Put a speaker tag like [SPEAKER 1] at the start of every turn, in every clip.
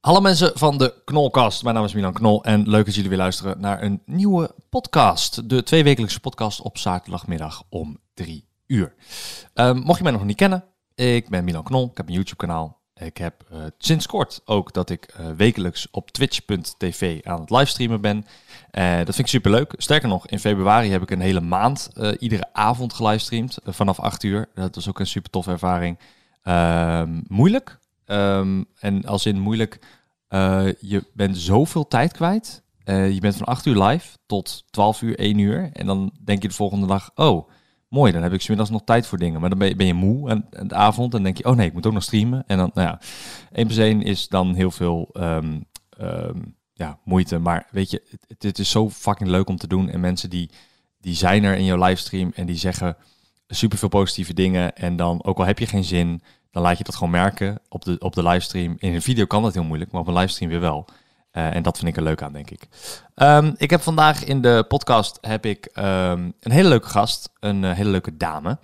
[SPEAKER 1] Hallo mensen van de Knolkast. Mijn naam is Milan Knol en leuk dat jullie weer luisteren naar een nieuwe podcast. De tweewekelijkse podcast op zaterdagmiddag om drie uur. Ehm, mocht je mij nog niet kennen, ik ben Milan Knol. Ik heb een YouTube kanaal. Ik heb eh, sinds kort ook dat ik eh, wekelijks op twitch.tv aan het livestreamen ben. Eh, dat vind ik superleuk. Sterker nog, in februari heb ik een hele maand eh, iedere avond gelivestreamd eh, vanaf 8 uur. Dat was ook een super toffe ervaring. Ehm, moeilijk. Ehm, en als in moeilijk, eh, je bent zoveel tijd kwijt. Eh, je bent van 8 uur live tot 12 uur, 1 uur. En dan denk je de volgende dag, oh, mooi, dan heb ik 's middags nog tijd voor dingen. Maar dan ben je, ben je moe en, en de avond en denk je, oh nee, ik moet ook nog streamen. En dan, nou ja, 1 plus 1 is dan heel veel ehm, ehm, ja, moeite. Maar weet je, het, het- het is zo fucking leuk om te doen. En mensen die, die zijn er in jouw livestream en die zeggen superveel positieve dingen. En dan, ook al heb je geen zin, dan laat je dat gewoon merken op de, op de livestream. In een video kan dat heel moeilijk, maar op een livestream weer wel. Eh, en dat vind ik er leuk aan, denk ik. Ehm, ik heb vandaag in de podcast heb ik, ehm, een hele leuke gast, een eh, hele leuke dame.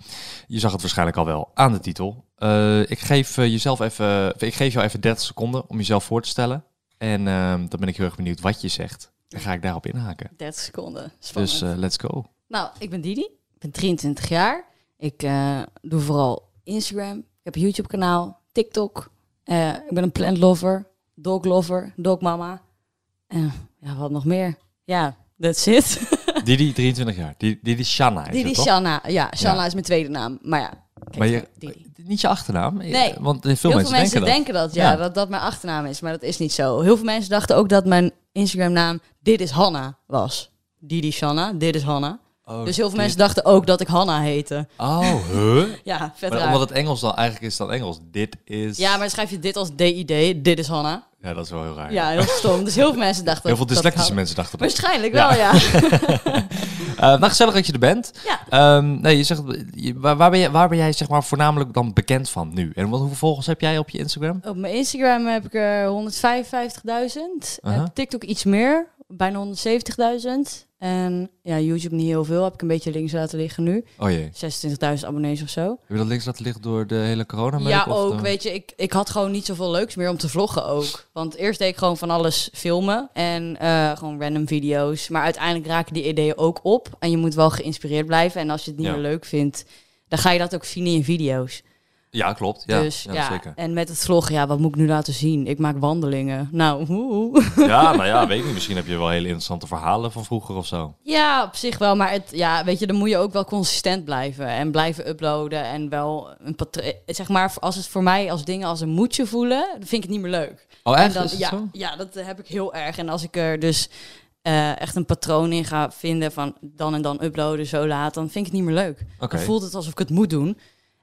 [SPEAKER 1] Je zag het waarschijnlijk al wel aan de titel. Eh, ik, geef, eh, jezelf even, ik geef jou even 30 seconden om jezelf voor te stellen. En ehm, dan ben ik heel erg benieuwd wat je zegt. Dan ga ik daarop inhaken.
[SPEAKER 2] 30 seconden. Spannend.
[SPEAKER 1] Dus eh, let's go.
[SPEAKER 2] nou, ik ben Didi. Ik ben 23 jaar. Ik eh, doe vooral Instagram. Ik heb een YouTube kanaal, TikTok. Eh, ik ben een plant lover, dog lover, dog mama. En ja, wat nog meer? Ja, that's it.
[SPEAKER 1] Didi, 23 jaar. Didi, Didi Shanna is
[SPEAKER 2] Didi
[SPEAKER 1] het, toch?
[SPEAKER 2] Shanna. Ja, Shanna
[SPEAKER 1] Ja.
[SPEAKER 2] is mijn tweede naam. Maar ja, kijk,
[SPEAKER 1] Maar je,
[SPEAKER 2] Didi.
[SPEAKER 1] niet je achternaam? Eh,
[SPEAKER 2] Nee.
[SPEAKER 1] Want eh, veel, mensen,
[SPEAKER 2] Heel veel mensen
[SPEAKER 1] denken dat.
[SPEAKER 2] denken dat, ja,
[SPEAKER 1] Ja.
[SPEAKER 2] Dat dat mijn achternaam is. Maar dat is niet zo. Heel veel mensen dachten ook dat mijn Instagram naam Dit is Hanna was. Didi Shanna, Dit is Hanna.
[SPEAKER 1] Oh,
[SPEAKER 2] Dus heel veel
[SPEAKER 1] dit-
[SPEAKER 2] mensen dachten ook dat ik Hanna heette.
[SPEAKER 1] Oh, huh?
[SPEAKER 2] Ja, vet
[SPEAKER 1] Maar
[SPEAKER 2] raar.
[SPEAKER 1] omdat het Engels dan eigenlijk is dan Engels. Dit is...
[SPEAKER 2] Ja, maar dan schrijf je dit als DID, dit is Hanna.
[SPEAKER 1] Ah, Ja, dat is wel heel raar.
[SPEAKER 2] Ja, heel stom. Dus heel veel mensen dachten...
[SPEAKER 1] Heel veel
[SPEAKER 2] dat-
[SPEAKER 1] dyslectische
[SPEAKER 2] dat-
[SPEAKER 1] mensen dachten dat.
[SPEAKER 2] Waarschijnlijk
[SPEAKER 1] Ja.
[SPEAKER 2] wel, ja.
[SPEAKER 1] Eh, nou, gezellig dat je er bent.
[SPEAKER 2] Ja.
[SPEAKER 1] Ehm, nee, je zegt, je- waar, waar ben jij, waar ben jij zeg maar, voornamelijk dan bekend van nu? En wat, hoeveel volgers heb jij op je Instagram?
[SPEAKER 2] Op mijn Instagram heb ik er 155.000.
[SPEAKER 1] Aha.
[SPEAKER 2] Op TikTok iets meer, bijna 170.000. En ja, YouTube niet heel veel. Heb ik een beetje links laten liggen nu.
[SPEAKER 1] Oh jee.
[SPEAKER 2] 26.000 abonnees of zo.
[SPEAKER 1] Heb je dat links laten liggen door de hele corona
[SPEAKER 2] Ja, ook. Weet je, ik, ik had gewoon niet zoveel leuks meer om te vloggen ook. Want eerst deed ik gewoon van alles filmen en eh, gewoon random video's. Maar uiteindelijk raken die ideeën ook op. En je moet wel geïnspireerd blijven. En als je het niet
[SPEAKER 1] Ja.
[SPEAKER 2] meer leuk vindt, dan ga je dat ook zien in je video's.
[SPEAKER 1] Ja, klopt. Ja,
[SPEAKER 2] dus
[SPEAKER 1] ja,
[SPEAKER 2] ja,
[SPEAKER 1] zeker.
[SPEAKER 2] en met het vloggen, ja, wat moet ik nu laten zien? Ik maak wandelingen. Nou, hoe?
[SPEAKER 1] Ja, nou ja, weet ik niet. Misschien heb je wel hele interessante verhalen van vroeger of zo.
[SPEAKER 2] Ja, op zich wel. Maar het, ja, weet je, dan moet je ook wel consistent blijven. En blijven uploaden. En wel een patroon. eh, Zeg maar, als het voor mij als dingen als een moedje voelen, dan vind ik het niet meer leuk.
[SPEAKER 1] Oh,
[SPEAKER 2] En
[SPEAKER 1] echt?
[SPEAKER 2] dan-
[SPEAKER 1] Is het
[SPEAKER 2] ja,
[SPEAKER 1] zo?
[SPEAKER 2] ja, dat eh, heb ik heel erg. En als ik er dus eh, echt een patroon in ga vinden van dan en dan uploaden, zo laat, dan vind ik het niet meer leuk.
[SPEAKER 1] Oké.
[SPEAKER 2] Dan voelt het alsof ik het moet doen.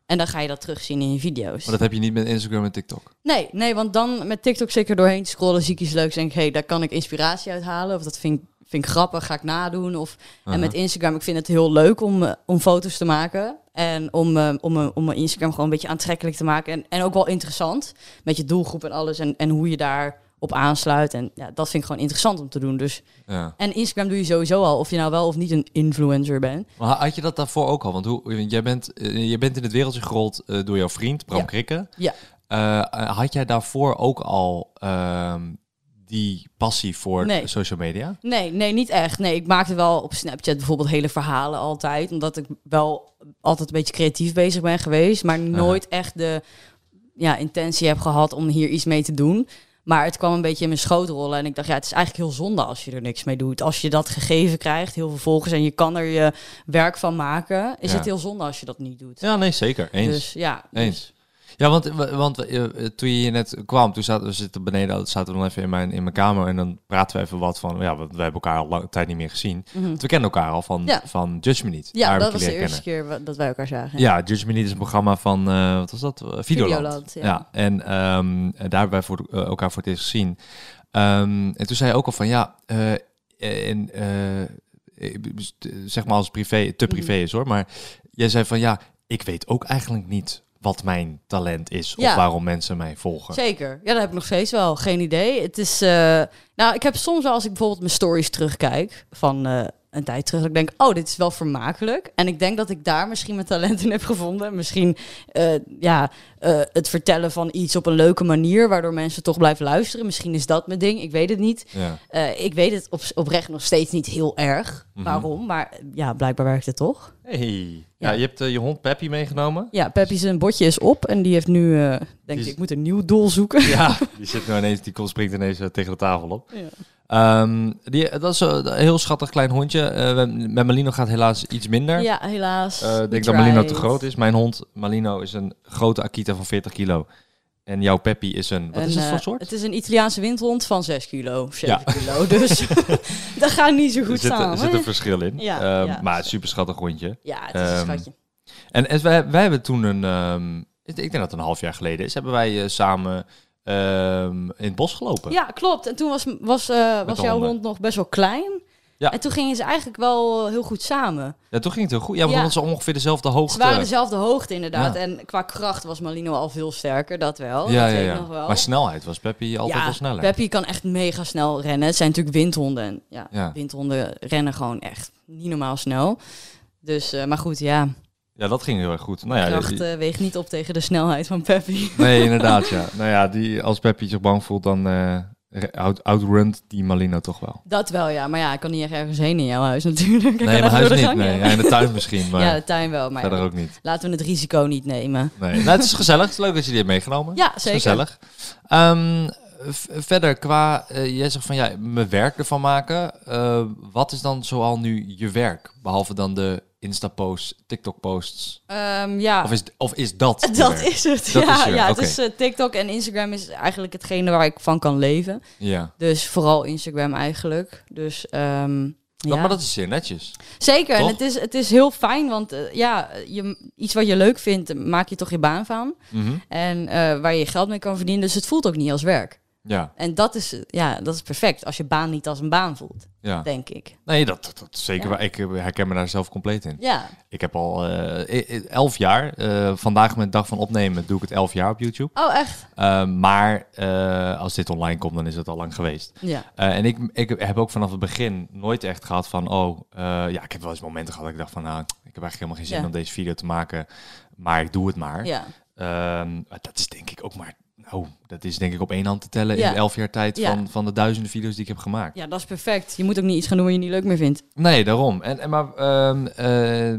[SPEAKER 2] En dan ga je dat terugzien in je video's.
[SPEAKER 1] Maar dat heb je niet met Instagram en TikTok.
[SPEAKER 2] Nee, nee, want dan met TikTok zeker doorheen scrollen zie ik iets leuks. Denk ik, hé, hey, daar kan ik inspiratie uit halen. Of dat vind ik, vind ik grappig, ga ik nadoen. Of, En met Instagram, ik vind het heel leuk om, eh, om foto's te maken. En om, eh, om, eh, om mijn Instagram gewoon een beetje aantrekkelijk te maken. En, en ook wel interessant. Met je doelgroep en alles. En, en hoe je daarop aansluit. En ja, dat vind ik gewoon interessant om te doen. Dus.
[SPEAKER 1] Ja.
[SPEAKER 2] En Instagram doe je sowieso al. Of je nou wel of niet een influencer bent.
[SPEAKER 1] Maar had je dat daarvoor ook al? Want hoe, jij, bent, eh, jij bent in het wereldje gerold eh, door jouw vriend, Bram
[SPEAKER 2] Ja.
[SPEAKER 1] Krikke.
[SPEAKER 2] Ja.
[SPEAKER 1] Eh, had jij daarvoor ook al ehm, die passie voor
[SPEAKER 2] Nee.
[SPEAKER 1] social media?
[SPEAKER 2] Nee, nee, niet echt. Nee, ik maakte wel op Snapchat bijvoorbeeld hele verhalen altijd. Omdat ik wel altijd een beetje creatief bezig ben geweest. Maar nooit echt de ja, intentie heb gehad om hier iets mee te doen. Maar het kwam een beetje in mijn schoot rollen. En ik dacht, ja, het is eigenlijk heel zonde als je er niks mee doet. Als je dat gegeven krijgt, heel veel volgers, en je kan er je werk van maken, is
[SPEAKER 1] Ja.
[SPEAKER 2] het heel zonde als je dat niet doet.
[SPEAKER 1] Ja, nee, zeker. Eens.
[SPEAKER 2] Dus ja.
[SPEAKER 1] Eens. Ja, want, want eh, toen je hier net kwam, toen zaten we zitten beneden, zaten we nog even in mijn, in mijn kamer en dan praten we even wat van, ja, want we hebben elkaar al lang tijd niet meer gezien. Want we kennen elkaar al van,
[SPEAKER 2] Mhm. Ja.
[SPEAKER 1] van Judge Me Niet.
[SPEAKER 2] Ja,
[SPEAKER 1] Daar heb
[SPEAKER 2] dat
[SPEAKER 1] ik
[SPEAKER 2] was
[SPEAKER 1] je
[SPEAKER 2] de
[SPEAKER 1] leren
[SPEAKER 2] eerste keer wa- dat wij elkaar zagen.
[SPEAKER 1] kennen. Ja, Judge Me Niet is een programma van, eh, wat was dat? Eh, Videoland.
[SPEAKER 2] Videoland,
[SPEAKER 1] ja.
[SPEAKER 2] ja.
[SPEAKER 1] en ehm, daar hebben wij voor, eh, elkaar voor het eerst gezien. Ehm, en toen zei je ook al van, ja, eh, en, eh, eh, zeg maar als het privé, te privé
[SPEAKER 2] Mm-hmm.
[SPEAKER 1] is hoor, maar jij zei van, ja, ik weet ook eigenlijk niet wat mijn talent is of
[SPEAKER 2] Ja.
[SPEAKER 1] waarom mensen mij volgen.
[SPEAKER 2] Zeker. Ja, dat heb ik nog steeds wel. Geen idee. Het is. eh, nou, ik heb soms wel als ik bijvoorbeeld mijn stories terugkijk van eh, een tijd terug, dat ik denk, oh, dit is wel vermakelijk. En ik denk dat ik daar misschien mijn talent in heb gevonden. Misschien eh, ja, eh, het vertellen van iets op een leuke manier, waardoor mensen toch blijven luisteren. Misschien is dat mijn ding. Ik weet het niet.
[SPEAKER 1] Ja.
[SPEAKER 2] Eh, ik weet het op, oprecht nog steeds niet heel erg
[SPEAKER 1] Mhm.
[SPEAKER 2] waarom, maar eh, ja, blijkbaar werkt het toch.
[SPEAKER 1] Hey. Ja.
[SPEAKER 2] Ja.
[SPEAKER 1] je hebt eh, je hond Peppy meegenomen.
[SPEAKER 2] Ja, Peppy zijn botje is op en die heeft nu, eh
[SPEAKER 1] Die
[SPEAKER 2] denk
[SPEAKER 1] is-
[SPEAKER 2] ik, ik moet een nieuw doel zoeken.
[SPEAKER 1] Ja, die zit nou ineens, die komt- springt ineens eh, tegen de tafel op.
[SPEAKER 2] Ja.
[SPEAKER 1] Ehm, die, dat is een heel schattig klein hondje. Eh, we- met Malino gaat helaas iets minder.
[SPEAKER 2] Ja, helaas.
[SPEAKER 1] Eh,
[SPEAKER 2] We
[SPEAKER 1] ik denk dat
[SPEAKER 2] tried.
[SPEAKER 1] Malino te groot is. Mijn hond Malino is een grote Akita van 40 kilo. En jouw Peppy is een, wat
[SPEAKER 2] Een,
[SPEAKER 1] is het voor
[SPEAKER 2] eh,
[SPEAKER 1] soort?
[SPEAKER 2] Het is een Italiaanse windhond van 6 kilo of 7
[SPEAKER 1] Ja.
[SPEAKER 2] kilo. Dus dat gaat niet zo
[SPEAKER 1] er
[SPEAKER 2] goed
[SPEAKER 1] zit, er
[SPEAKER 2] samen.
[SPEAKER 1] zit een verschil in.
[SPEAKER 2] Ja,
[SPEAKER 1] Ehm,
[SPEAKER 2] ja.
[SPEAKER 1] Maar het is een super schattig hondje.
[SPEAKER 2] ja, het is een
[SPEAKER 1] Ehm,
[SPEAKER 2] schatje.
[SPEAKER 1] En, en wij, wij hebben toen een, ehm, ik denk dat het een half jaar geleden is, hebben wij eh, samen ehm, in het bos gelopen.
[SPEAKER 2] Ja, klopt. En toen was, was, eh, was
[SPEAKER 1] de
[SPEAKER 2] jouw
[SPEAKER 1] honden.
[SPEAKER 2] hond nog best wel klein.
[SPEAKER 1] Ja.
[SPEAKER 2] En toen gingen ze eigenlijk wel eh, heel goed samen.
[SPEAKER 1] Ja, toen ging het heel goed. Ja, want
[SPEAKER 2] Ja.
[SPEAKER 1] dan was ze ongeveer dezelfde hoogte.
[SPEAKER 2] Ze waren dezelfde hoogte inderdaad.
[SPEAKER 1] Ja.
[SPEAKER 2] En qua kracht was Malino al veel sterker, dat wel.
[SPEAKER 1] ja,
[SPEAKER 2] Oh, dat
[SPEAKER 1] ja,
[SPEAKER 2] weet ik
[SPEAKER 1] ja.
[SPEAKER 2] nog wel.
[SPEAKER 1] Maar snelheid was Peppy altijd wel sneller.
[SPEAKER 2] Peppy kan echt mega snel rennen. Het zijn natuurlijk windhonden. En ja,
[SPEAKER 1] Ja.
[SPEAKER 2] windhonden rennen gewoon echt niet normaal snel. Dus, eh, maar goed, ja.
[SPEAKER 1] Ja, dat ging heel erg goed. Nou ja,
[SPEAKER 2] kracht
[SPEAKER 1] die-
[SPEAKER 2] eh, weegt niet op tegen de snelheid van Peppy.
[SPEAKER 1] Nee, inderdaad, ja. Nou ja, die, als Peppy zich bang voelt, dan eh, re- out, outrunt die Malino toch wel.
[SPEAKER 2] Dat wel, ja. Maar ja, ik kan niet echt ergens heen in jouw huis natuurlijk. Ik
[SPEAKER 1] Nee,
[SPEAKER 2] kan
[SPEAKER 1] mijn
[SPEAKER 2] even
[SPEAKER 1] huis
[SPEAKER 2] door de
[SPEAKER 1] niet.
[SPEAKER 2] gang,
[SPEAKER 1] Nee.
[SPEAKER 2] ja.
[SPEAKER 1] Ja, in de tuin misschien, maar
[SPEAKER 2] Ja, de tuin wel. Maar
[SPEAKER 1] verder
[SPEAKER 2] ja,
[SPEAKER 1] ook niet.
[SPEAKER 2] laten we het risico niet nemen.
[SPEAKER 1] Nee. Nou, het is gezellig. Het is leuk dat je die hebt meegenomen.
[SPEAKER 2] Ja,
[SPEAKER 1] Het is
[SPEAKER 2] zeker.
[SPEAKER 1] gezellig. Ehm, v- verder, qua, eh, jij zegt van ja, mijn werk ervan maken. Eh, wat is dan zoal nu je werk? Behalve dan de Insta-posts, TikTok-posts.
[SPEAKER 2] Ehm, ja,
[SPEAKER 1] Of is, of is dat? je
[SPEAKER 2] dat
[SPEAKER 1] werk?
[SPEAKER 2] is het.
[SPEAKER 1] Dat
[SPEAKER 2] ja,
[SPEAKER 1] is je-
[SPEAKER 2] ja,
[SPEAKER 1] oké.
[SPEAKER 2] het is eh, TikTok en Instagram is eigenlijk hetgene waar ik van kan leven.
[SPEAKER 1] Ja.
[SPEAKER 2] Dus vooral Instagram eigenlijk. Dus ehm, ja.
[SPEAKER 1] Nou, maar dat is zeer netjes.
[SPEAKER 2] Zeker, en
[SPEAKER 1] Toch?
[SPEAKER 2] het is, het is heel fijn, want eh, ja, je, iets wat je leuk vindt, maak je toch je baan van.
[SPEAKER 1] Mhm.
[SPEAKER 2] En eh, waar je geld mee kan verdienen, dus het voelt ook niet als werk.
[SPEAKER 1] Ja,
[SPEAKER 2] En dat is, eh, ja, dat is perfect, als je baan niet als een baan voelt,
[SPEAKER 1] ja.
[SPEAKER 2] denk ik.
[SPEAKER 1] Nee, dat, dat, dat is zeker
[SPEAKER 2] Ja.
[SPEAKER 1] waar. Ik eh, herken me daar zelf compleet in.
[SPEAKER 2] Ja,
[SPEAKER 1] Ik heb al eh, e- e- elf jaar, eh, vandaag mijn dag van opnemen, doe ik het elf jaar op YouTube.
[SPEAKER 2] oh echt?
[SPEAKER 1] Eh, maar eh, als dit online komt, dan is het al lang geweest.
[SPEAKER 2] Ja.
[SPEAKER 1] Eh, en ik, ik heb ook vanaf het begin nooit echt gehad van, oh, eh, ja, ik heb wel eens momenten gehad dat ik dacht van, nou, ik heb eigenlijk helemaal geen zin
[SPEAKER 2] Ja.
[SPEAKER 1] om deze video te maken, maar ik doe het maar.
[SPEAKER 2] Ja,
[SPEAKER 1] Ehm, maar dat is denk ik ook maar. Nou, dat is denk ik op één hand te tellen
[SPEAKER 2] Ja.
[SPEAKER 1] in elf jaar tijd
[SPEAKER 2] Ja.
[SPEAKER 1] van, van de duizenden video's die ik heb gemaakt.
[SPEAKER 2] ja, dat is perfect. Je moet ook niet iets gaan doen wat je niet leuk meer vindt.
[SPEAKER 1] Nee, daarom. En, en maar ehm, eh,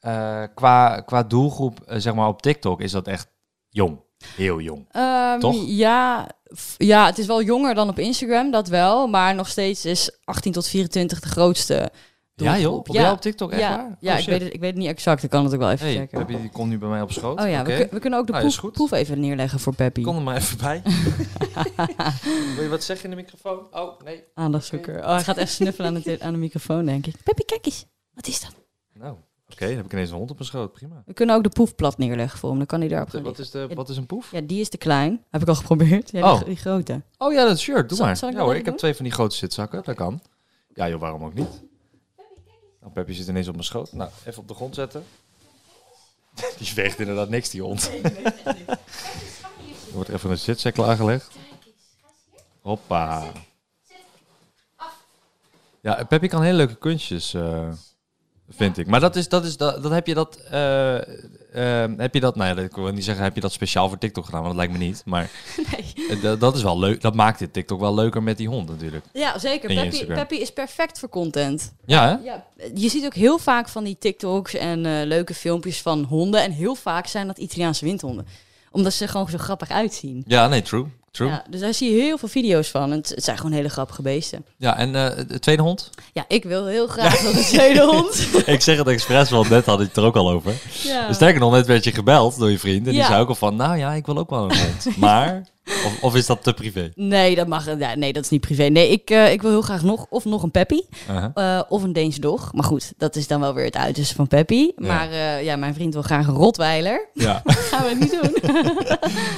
[SPEAKER 1] eh, qua, qua doelgroep, eh, zeg maar op TikTok, is dat echt jong. Heel jong.
[SPEAKER 2] Ehm,
[SPEAKER 1] Toch?
[SPEAKER 2] Ja, f- ja, het is wel jonger dan op Instagram, dat wel. Maar nog steeds is 18 tot 24 de grootste
[SPEAKER 1] Ja joh,
[SPEAKER 2] doelgroep.
[SPEAKER 1] op, ja. op TikTok echt
[SPEAKER 2] ja,
[SPEAKER 1] waar?
[SPEAKER 2] Ja,
[SPEAKER 1] Oh,
[SPEAKER 2] ik,
[SPEAKER 1] shit.
[SPEAKER 2] weet het, ik weet het niet exact. Ik kan het ook wel even
[SPEAKER 1] Hey,
[SPEAKER 2] checken.
[SPEAKER 1] Peppy, die komt nu bij mij op schoot.
[SPEAKER 2] Oh ja,
[SPEAKER 1] Oké.
[SPEAKER 2] we, kun- we kunnen ook de
[SPEAKER 1] Nou, is
[SPEAKER 2] proef,
[SPEAKER 1] goed.
[SPEAKER 2] proef even neerleggen voor Peppy.
[SPEAKER 1] Kom er maar even bij. Wil je wat zeggen in de microfoon? Oh, nee.
[SPEAKER 2] Aandachtzoeker. Oh, hij gaat echt snuffelen aan de, te- aan de microfoon, denk ik. Peppy, kijk eens. Wat is dat?
[SPEAKER 1] Nou, oké, dan heb ik ineens een hond op mijn schoot. Prima.
[SPEAKER 2] We kunnen ook de proef plat neerleggen voor hem. Dan kan hij daarop gaan
[SPEAKER 1] Wat
[SPEAKER 2] liggen.
[SPEAKER 1] is, de, wat is een poef?
[SPEAKER 2] Ja, die is te klein. Heb ik al geprobeerd. Ja, die
[SPEAKER 1] Oh.
[SPEAKER 2] gro- die grote.
[SPEAKER 1] Oh ja, dat shirt. Doe
[SPEAKER 2] Zal-
[SPEAKER 1] maar.
[SPEAKER 2] zal ik
[SPEAKER 1] ja
[SPEAKER 2] dat
[SPEAKER 1] hoor,
[SPEAKER 2] even
[SPEAKER 1] ik heb
[SPEAKER 2] doen?
[SPEAKER 1] twee van die grote zitzakken. Dat kan. Ja joh, waarom ook niet? Nou, Peppy zit ineens op mijn schoot. Nou, even op de grond zetten. Die weegt inderdaad niks, die hond. Er wordt even een zitzak klaargelegd. Hoppa. Ja, eh, Peppy kan hele leuke kunstjes, eh, vind ik. Maar dat is, dat is, dat, dat heb je dat, eh, eh, heb je dat, nou ja, dat- ik wil niet zeggen, heb je dat speciaal voor TikTok gedaan, want dat lijkt me niet. Maar
[SPEAKER 2] Nee.
[SPEAKER 1] eh, dat- dat is wel leuk. Dat maakt dit TikTok wel leuker met die hond natuurlijk.
[SPEAKER 2] Ja, zeker.
[SPEAKER 1] En je
[SPEAKER 2] Peppy,
[SPEAKER 1] Instagram.
[SPEAKER 2] Peppy is perfect voor content.
[SPEAKER 1] Ja, hè?
[SPEAKER 2] Ja, je ziet ook heel vaak van die TikToks en eh, leuke filmpjes van honden. En heel vaak zijn dat Italiaanse windhonden. Omdat ze er gewoon zo grappig uitzien.
[SPEAKER 1] Ja, nee, true. True. Ja,
[SPEAKER 2] Ja, dus daar zie je heel veel video's van. En het, het zijn gewoon hele grappige beesten.
[SPEAKER 1] en eh de tweede hond?
[SPEAKER 2] Ja, ik wil heel graag dat een tweede hond.
[SPEAKER 1] ik zeg het expres, want net had ik het er ook al over. Dus
[SPEAKER 2] Ja.
[SPEAKER 1] Sterker nog, net werd je gebeld door je vriend. En die
[SPEAKER 2] Ja.
[SPEAKER 1] zei ook al van, nou ja, ik wil ook wel een hond. Maar, of, of is dat te privé?
[SPEAKER 2] Nee, dat mag. Ja, nee, dat is niet privé. Nee, ik, eh, ik wil heel graag nog of nog een Peppy.
[SPEAKER 1] Uh-huh.
[SPEAKER 2] eh, of een Deense dog. Maar goed, dat is dan wel weer het uiterste van Peppy. Maar eh, ja, mijn vriend wil graag een Rotweiler.
[SPEAKER 1] Ja.
[SPEAKER 2] Dat gaan we niet doen.